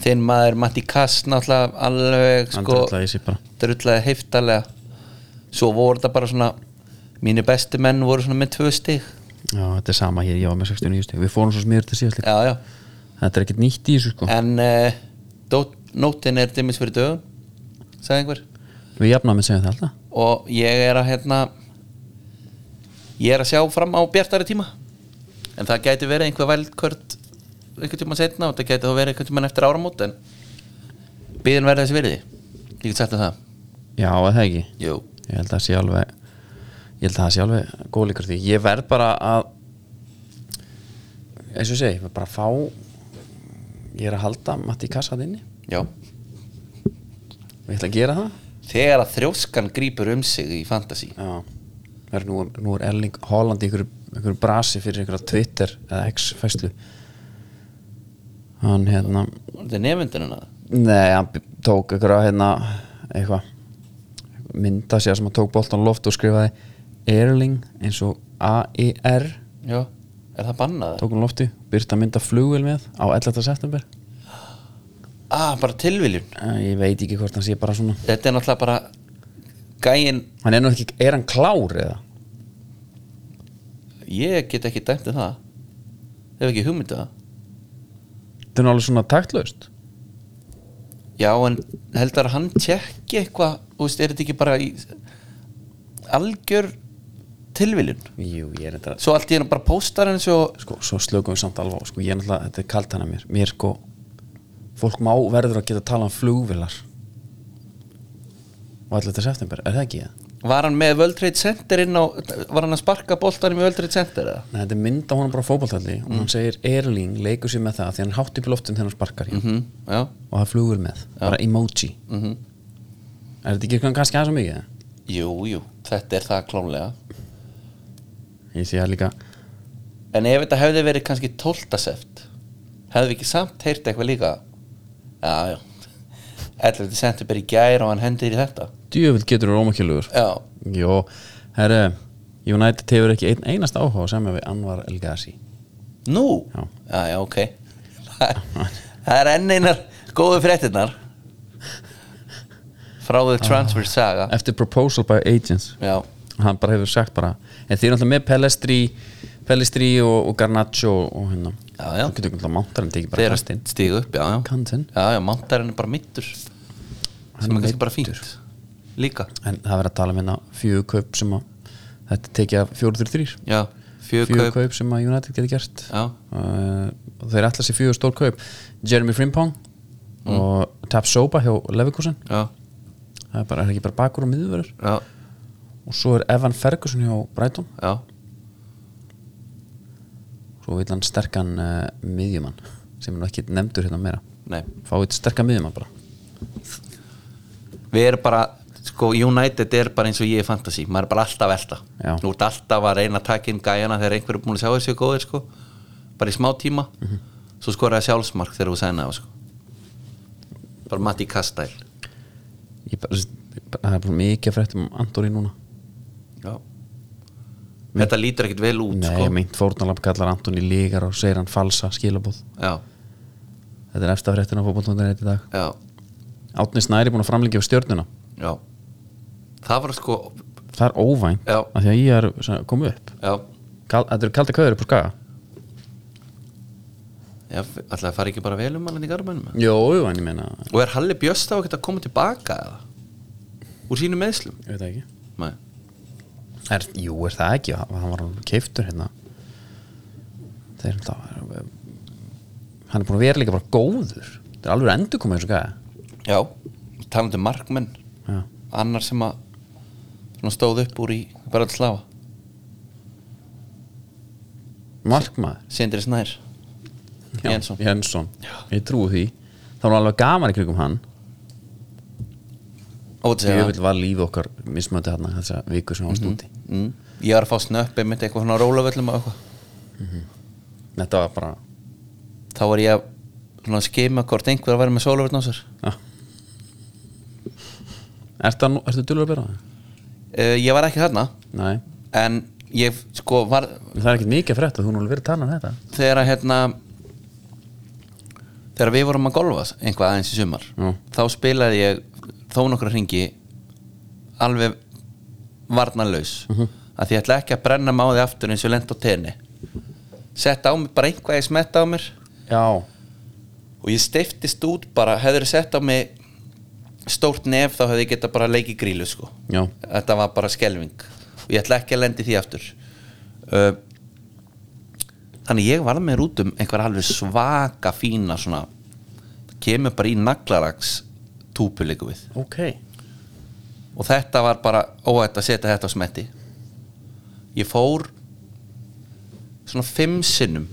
[SPEAKER 2] þinn maður Matti Kass náttúrulega alveg
[SPEAKER 1] hann
[SPEAKER 2] sko
[SPEAKER 1] dröllaði í sig bara
[SPEAKER 2] drullæði heiftalega svo voru þetta bara svona mínu bestu menn voru svona með tvö stík
[SPEAKER 1] Já, þetta er sama hér, ég var með 69 stík Við fórum svo smiður til síðast líka
[SPEAKER 2] já já
[SPEAKER 1] Þetta er ekkert nýtt í þessu sko
[SPEAKER 2] en uh, nótin er dimmis fyrir dögum sagði einhver
[SPEAKER 1] Við jafnum að segja það alltaf
[SPEAKER 2] og ég er að hérna ég er að sjá fram á bjartari tíma en það gæti verið einhver vældkvört einhvern tíma setna og það gæti þá verið einhvern tíma eftir áramót en byðin verði þessi verði ég get sagt þér það
[SPEAKER 1] Já, er það ekki
[SPEAKER 2] Jú.
[SPEAKER 1] Ég held að það sé alveg Ég held að það sé alveg góð líkur því Ég verð bara að eins og ég segi, ég verð bara að fá Ég er að halda Matti Kassa þinni
[SPEAKER 2] Já.
[SPEAKER 1] og ég ætla að gera það
[SPEAKER 2] þegar að þrjóskan grýpur um sig í fantasi
[SPEAKER 1] Já, það er nú, nú er Erling Holland í einhverju einhverju brasi fyrir einhverja Twitter eða X-fæslu hann hérna
[SPEAKER 2] Þetta er nefndin hennar
[SPEAKER 1] Nei, hann b- tók einhverja hérna eitthvað mynda sér sem hann tók boltan loft og skrifaði Erling eins og A-I-R
[SPEAKER 2] Já, er það bannað? Tók...
[SPEAKER 1] tók hann lofti, byrta mynda flugvél með á 11. september
[SPEAKER 2] Ah, bara tilviljun
[SPEAKER 1] Eh, ég veit ekki hvort hann sé bara svona
[SPEAKER 2] Þetta er náttúrulega bara gæin
[SPEAKER 1] hann er nú ekki, er hann klár eða?
[SPEAKER 2] Ég get ekki dæmt um það Hef ekki hugmyndið það
[SPEAKER 1] þetta er nú alveg svona taktlaust
[SPEAKER 2] Já, en heldur að hann tjekki eitthvað Þú veist, er þetta ekki bara í algjör tilviljun
[SPEAKER 1] jú, ég er þetta
[SPEAKER 2] Svo allt í hennar bara póstar henni svo
[SPEAKER 1] sko, svo slökum við samt alveg á sko, ég er náttúrulega, þetta er kalt hann að mér mér sko, fólk má verður að geta tala um flugvilar og allir þetta september er það ekki það?
[SPEAKER 2] Var hann með World Trade Center inn á Var hann að sparka boltanum í World Trade Center eða?
[SPEAKER 1] Nei, þetta er mynd á honum bara fótballtalli og hann segir Erling leikur sér með það því hann hátt upp í loftin þegar hann sparkar mm
[SPEAKER 2] Mm, já,
[SPEAKER 1] og það flugur með, bara emoji
[SPEAKER 2] Mhm.
[SPEAKER 1] er þetta ekki eitthvað kannski aðeins og mikið? eða?
[SPEAKER 2] jú, jú, þetta er það klónlega
[SPEAKER 1] ég sé það líka,
[SPEAKER 2] En ef þetta hefði verið kannski 12. seft hefði við ekki samt heyrt eitthvað líka Já, já 11. september í gær og hann hendir í þetta
[SPEAKER 1] djöfull getur þú rómakjölugur
[SPEAKER 2] Já,
[SPEAKER 1] Jó, herru United hefur ekki einn einast áhuga sem við Anwar El Ghazi
[SPEAKER 2] nú
[SPEAKER 1] Já.
[SPEAKER 2] já, já ok Það er- Það er enn einar góðu fréttinnar frá the
[SPEAKER 1] Ah.
[SPEAKER 2] transfer saga
[SPEAKER 1] eftir proposal by agents
[SPEAKER 2] Já,
[SPEAKER 1] hann bara hefur sagt bara en þið er alltaf með Pellestri Pellestri og, og Garnaccio og, og hérna
[SPEAKER 2] Já, já.
[SPEAKER 1] þú getur alltaf mántarinn tekið bara
[SPEAKER 2] þeir
[SPEAKER 1] kastinn
[SPEAKER 2] stígu upp Já, já,
[SPEAKER 1] Kantinn.
[SPEAKER 2] já, já mántarinn er bara mittur sem
[SPEAKER 1] er
[SPEAKER 2] er kannski bara
[SPEAKER 1] meiddur.
[SPEAKER 2] fínt Líka,
[SPEAKER 1] en það verður að tala um hérna fjögur kaup sem að þetta er tekið af fjóru þurr þrýr
[SPEAKER 2] já, fjögur
[SPEAKER 1] fjögur
[SPEAKER 2] kaup
[SPEAKER 1] kaup sem að United getur gert
[SPEAKER 2] Já.
[SPEAKER 1] uh, og þeir ætla sér fjögur stór kaup Jeremy Frimpong
[SPEAKER 2] Mm.
[SPEAKER 1] og Tap Soba hjá Leverkusen
[SPEAKER 2] Já,
[SPEAKER 1] það er, bara, er ekki bara bakur og miðurverður
[SPEAKER 2] já,
[SPEAKER 1] og svo er Evan Ferguson hjá Brighton
[SPEAKER 2] já
[SPEAKER 1] svo vil hann sterkan uh, miðjumann sem er nú ekki nefndur hérna meira
[SPEAKER 2] Nei
[SPEAKER 1] fá eitt sterkan miðjumann bara
[SPEAKER 2] við erum bara sko, United er bara eins og ég í fantasy maður er bara alltaf elda
[SPEAKER 1] Já.
[SPEAKER 2] nú ert alltaf að reyna að taka inn gæjana þegar einhver er búin að sjá þessu góðir sko. bara í smá tíma
[SPEAKER 1] Mhm.
[SPEAKER 2] svo skoraði sjálfsmark þegar þú sæna það sko. bara Matti Kastæl
[SPEAKER 1] Ég bara, það er bara mikið að fréttum um Andorri núna
[SPEAKER 2] Já. þetta lítur ekkit vel út
[SPEAKER 1] Nei,
[SPEAKER 2] sko.
[SPEAKER 1] meint fórnalab kallar Antoni lígar og segir hann falsa skilabóð
[SPEAKER 2] já,
[SPEAKER 1] Þetta er eftir að fréttina á fótboll.net í dag
[SPEAKER 2] já,
[SPEAKER 1] Átni Snæri búin að framlíkja við stjörnuna
[SPEAKER 2] já það var sko
[SPEAKER 1] Það er óvænt
[SPEAKER 2] Já.
[SPEAKER 1] af því að ég er svona, komið upp
[SPEAKER 2] já,
[SPEAKER 1] Kal, Þetta eru kaldi köður upp úr skaga
[SPEAKER 2] já, alltaf það fari ekki bara vel um hann í garmanum
[SPEAKER 1] Jó, jú, en ég meina
[SPEAKER 2] og er Halli Björs þá ekkert að koma tilbaka eða? úr sínum meðslum
[SPEAKER 1] Ég veit það ekki
[SPEAKER 2] Nei.
[SPEAKER 1] er, Jú, er það ekki, hann hann var alveg keiftur hérna Þeir er það Hann er búin að vera líka bara góður Þetta er alveg endur komið þessu gæði
[SPEAKER 2] Já, talandi um markmenn
[SPEAKER 1] Já.
[SPEAKER 2] annar sem að svona stóð upp úr í Bratislava
[SPEAKER 1] Markmaður
[SPEAKER 2] Sindri Snær Jensson.
[SPEAKER 1] [laughs] Jensson. Ég trúi því Það var alveg gaman í krigum hann Ég
[SPEAKER 2] Ótsega
[SPEAKER 1] vil var lífi okkar mismöndi hann þessa viku sem hann stúti
[SPEAKER 2] mm. Ég var að fá snöppi mitt eitthvað svona á rólavöllum og eitthvað
[SPEAKER 1] Þetta var bara
[SPEAKER 2] þá var ég að svona skima hvort einhver að vera með sólavölln á sér
[SPEAKER 1] já. Ertu, að nú- ertu dullur að bera það?
[SPEAKER 2] uh, Ég var ekki þarna
[SPEAKER 1] Nei,
[SPEAKER 2] en ég sko var
[SPEAKER 1] það er ekkert mikið frétt að þú nú alveg verið að tala um þetta
[SPEAKER 2] þegar að hérna þegar við vorum að golfa einhvað aðeins í sumar
[SPEAKER 1] Já.
[SPEAKER 2] þá spilaði ég þó nokkra hringi alveg varnalaus uh að því ég ætla ekki að brenna máði aftur eins og lent á tenni sett á mig bara einhvað ég smetta á mér
[SPEAKER 1] Já,
[SPEAKER 2] og ég steiftist út bara hefur sett á mig stórt nef þá hefði ég geta bara leikið grílu sko
[SPEAKER 1] já,
[SPEAKER 2] þetta var bara skelving og ég ætla ekki að lendi því aftur uh, þannig ég var með rútum einhver alveg svaka fína svona kemur bara í naglarags túpu líka við
[SPEAKER 1] ok
[SPEAKER 2] og þetta var bara óætt að setja þetta á smetti ég fór svona fimm sinnum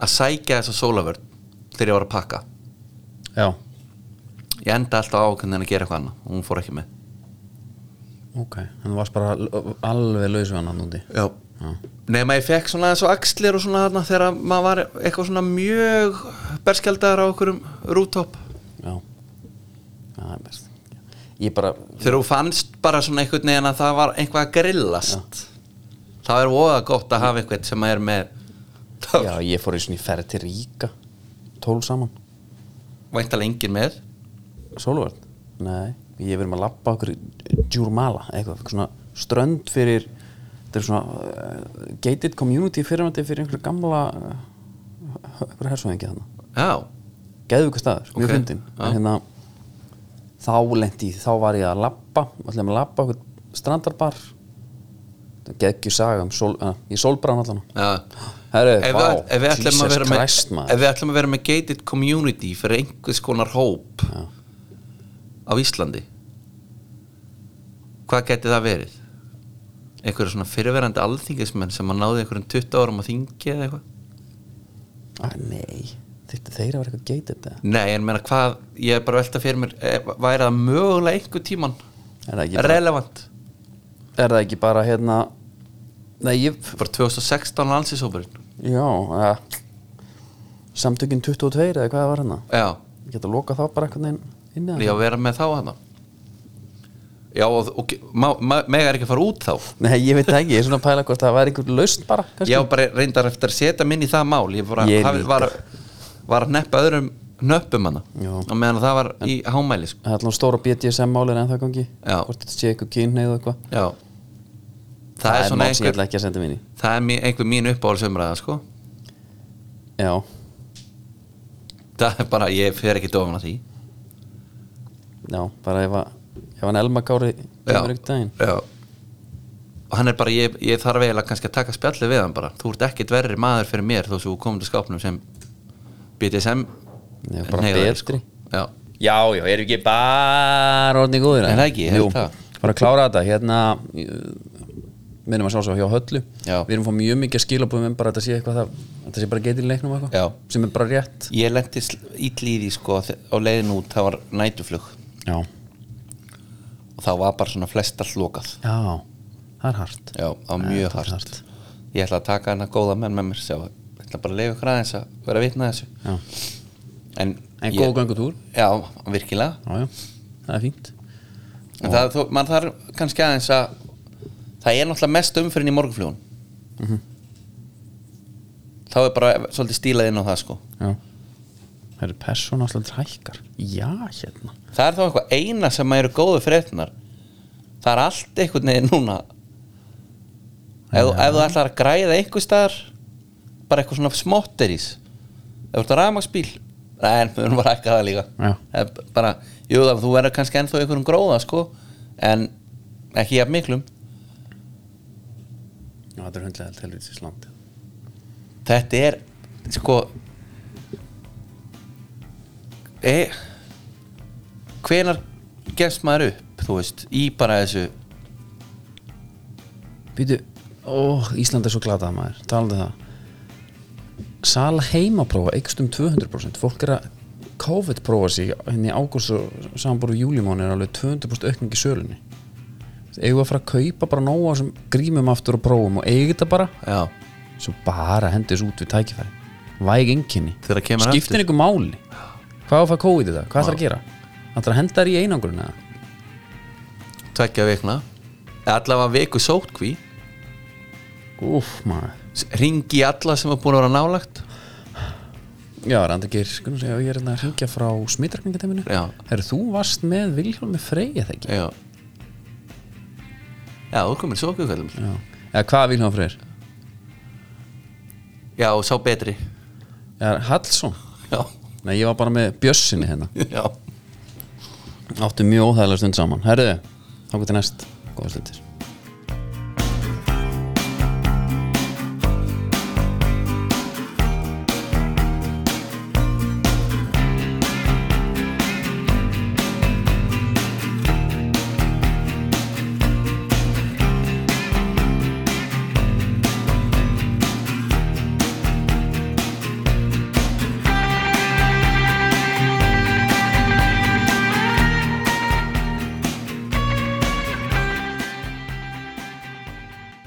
[SPEAKER 2] að sækja þessa sólavörn þegar ég var að pakka
[SPEAKER 1] Já,
[SPEAKER 2] ég enda alltaf ákveðin að gera eitthvað annað og hún fór ekki með
[SPEAKER 1] ok, en þú varst bara l- alveg laus við hann hann úti
[SPEAKER 2] Já nema ég fekk svona eins og axlir og svona þarna þegar maður var eitthvað svona mjög berskjaldar á okkur um rútopp
[SPEAKER 1] já Já, það er best Ég bara,
[SPEAKER 2] þegar þú fannst bara svona einhvern veginn að það var einhvað að grillast það er voða gott að hafa einhvern sem er með [laughs]
[SPEAKER 1] já, ég fór í svona í ferð til Ríka Tól saman
[SPEAKER 2] væntalega engin með
[SPEAKER 1] Sólvörn? Nei, ég verðum að lappa okkur djúrmala, eitthvað, svona strönd fyrir, þetta er svona uh, gated community fyrirvændi fyrir einhverju gamla uh, einhverju hersóðingi þannig
[SPEAKER 2] já,
[SPEAKER 1] geðvika staður, mjög
[SPEAKER 2] Ok,
[SPEAKER 1] okay. fyndin
[SPEAKER 2] já.
[SPEAKER 1] en hérna þá lendi, þá var ég að lappa ætlum að lappa okkur strandarbar það geggjur saga um sól, uh, ég sólbrann allan á.
[SPEAKER 2] já
[SPEAKER 1] Herru,
[SPEAKER 2] ef,
[SPEAKER 1] Eh, vá,
[SPEAKER 2] við, ef, við ætlum að
[SPEAKER 1] Jesus
[SPEAKER 2] vera með,
[SPEAKER 1] Christ, maður.
[SPEAKER 2] ef við ætlum að vera með gated community fyrir einhvers konar hóp
[SPEAKER 1] Já.
[SPEAKER 2] á Íslandi hvað geti það verið? einhverju svona fyrirverandi alþingismenn sem að náði einhverjum 20 árum á þingi eða eitthvað?
[SPEAKER 1] Æ, nei, þetta þeir að vera eitthvað gated eða?
[SPEAKER 2] Nei, en meina hvað, ég er bara að velta fyrir mér eh, væri það mögulega einhver tíman
[SPEAKER 1] er það ekki bara,
[SPEAKER 2] relevant
[SPEAKER 1] er það ekki bara hérna nei, ég
[SPEAKER 2] bara 2016 landsísóparinn
[SPEAKER 1] Já, ja. samtökin 22 eða hvað það var hérna
[SPEAKER 2] já,
[SPEAKER 1] Ég geta að loka þá bara eitthvað inn, inn
[SPEAKER 2] ég á
[SPEAKER 1] eða?
[SPEAKER 2] að vera með þá hana já, og, og má, má, mega er ekki að fara út þá
[SPEAKER 1] Nei, ég veit það ekki, ég er svona að pæla hvort það væri einhver lausn bara kannski.
[SPEAKER 2] ég á bara reyndar eftir að setja minn í það mál ég bara
[SPEAKER 1] Ég
[SPEAKER 2] hafið
[SPEAKER 1] líka.
[SPEAKER 2] var, var að neppa öðrum nöppum hana
[SPEAKER 1] Já.
[SPEAKER 2] og meðan það var í hámæli sko.
[SPEAKER 1] Það er alltaf stóra BDSM-málin en það gangi
[SPEAKER 2] Já.
[SPEAKER 1] Hvort þetta sé eitthvað kynneið og eitthvað
[SPEAKER 2] já það, er svona
[SPEAKER 1] mál sem ég
[SPEAKER 2] einhver
[SPEAKER 1] ætla ekki að senda minni
[SPEAKER 2] það er mi- einhver mín uppáhalsumræða sko.
[SPEAKER 1] Já,
[SPEAKER 2] það er bara, ég fer ekki dofna því
[SPEAKER 1] já, bara ef að ef hann Elma Kári kemur ykkur daginn
[SPEAKER 2] já og hann er bara, ég, ég þarf eiginlega kannski að taka spjallið við hann bara, þú ert ekkit verri maður fyrir mér þó svo komum til skápnum sem BDSM
[SPEAKER 1] Nei, bara
[SPEAKER 2] hneigðaður,
[SPEAKER 1] betri.
[SPEAKER 2] sko. já,
[SPEAKER 1] Já, já, erum ekki bara orðin góðir
[SPEAKER 2] Nei, það ekki, ég held
[SPEAKER 1] Jú,
[SPEAKER 2] það.
[SPEAKER 1] bara að klára þetta hérna minnum að sjálfsög hjá höllu
[SPEAKER 2] Já.
[SPEAKER 1] við erum fóð mjög mikið að skilabúðum en bara að þetta sé eitthvað það, þetta sé bara getið í leiknum og eitthvað
[SPEAKER 2] Já.
[SPEAKER 1] sem er bara rétt
[SPEAKER 2] ég lendi ítli í því sko þe- á leiðin út, það var nætuflug
[SPEAKER 1] Já,
[SPEAKER 2] og þá var bara svona flest allt lokað
[SPEAKER 1] já, það er hart
[SPEAKER 2] já, það var mjög
[SPEAKER 1] það er
[SPEAKER 2] hart.
[SPEAKER 1] hart.
[SPEAKER 2] ég ætla að taka hana góða menn með mér sjá, ég ætla bara að leiða ykkur aðeins að vera að vitna þessu
[SPEAKER 1] Já.
[SPEAKER 2] en,
[SPEAKER 1] En
[SPEAKER 2] ég-
[SPEAKER 1] góð göngutúr,
[SPEAKER 2] já, virkilega
[SPEAKER 1] já, já, það er fínt
[SPEAKER 2] en það, þó, maður þarf kannski aðeins að það er náttúrulega mest umfyrin í morgunflugun
[SPEAKER 1] Mhm.
[SPEAKER 2] þá er bara svolítið stílað inn á það sko
[SPEAKER 1] Já Það eru persónaslega hækkar Já, hérna
[SPEAKER 2] það er þá eitthvað eina sem maður eru góðu fréttinar það er allt einhvern veginn núna ef, þú- ef þú ætlar að græða einhver staðar bara eitthvað svona smotterís ef þú ert að rafmagsbíl nei, en við erum bara ekki að það líka
[SPEAKER 1] Já.
[SPEAKER 2] Það er bara, jú, það, þú verður kannski ennþá einhverjum gróða sko, en ekki jafn miklum
[SPEAKER 1] Já, þetta er hundlega helvítis landi
[SPEAKER 2] þetta er sko e, hvenar gefst maður upp þú veist, í bara þessu
[SPEAKER 1] Býtu, ó, Ísland er svo glatað maður Talaðu það Sala heimaprófa eikst um 200% Fólk er að COVID prófa sig henni ágúst og samanbúru júlimóni er alveg 200% aukning í sölunni eigum við að fara að kaupa bara nóga sem grímum aftur og prófum og eigi þetta bara
[SPEAKER 2] já,
[SPEAKER 1] svo bara hendi þessu út við tækifæri væg enginni,
[SPEAKER 2] Þegar það kemur aftur.
[SPEAKER 1] skiptin ykkur máli hvað á að fara COVID í það, hvað ætlar að gera Það ætlar að henda þær í einangrun eða?
[SPEAKER 2] tveggja vikna Eða allavega viku sótkví
[SPEAKER 1] Úff maður
[SPEAKER 2] ringi í alla sem er búin að vera nálagt
[SPEAKER 1] Já, Randageir, skulum segja, ég er hérna að hringja frá smittrakningateiminu
[SPEAKER 2] Já.
[SPEAKER 1] Herru, þú varst með Vilhjálmi Freyja það ekki?
[SPEAKER 2] já já, þú komir sótkvíkvælum
[SPEAKER 1] Já Eða hvað Vilhjálmi Freyr?
[SPEAKER 2] já, og sá betri
[SPEAKER 1] Eða Hallsson?
[SPEAKER 2] já, [laughs]
[SPEAKER 1] Nei, ég var bara með Bjössinni hérna
[SPEAKER 2] já
[SPEAKER 1] Áttu mjög óþægilega stund saman Herru, þá til næst, góða stundir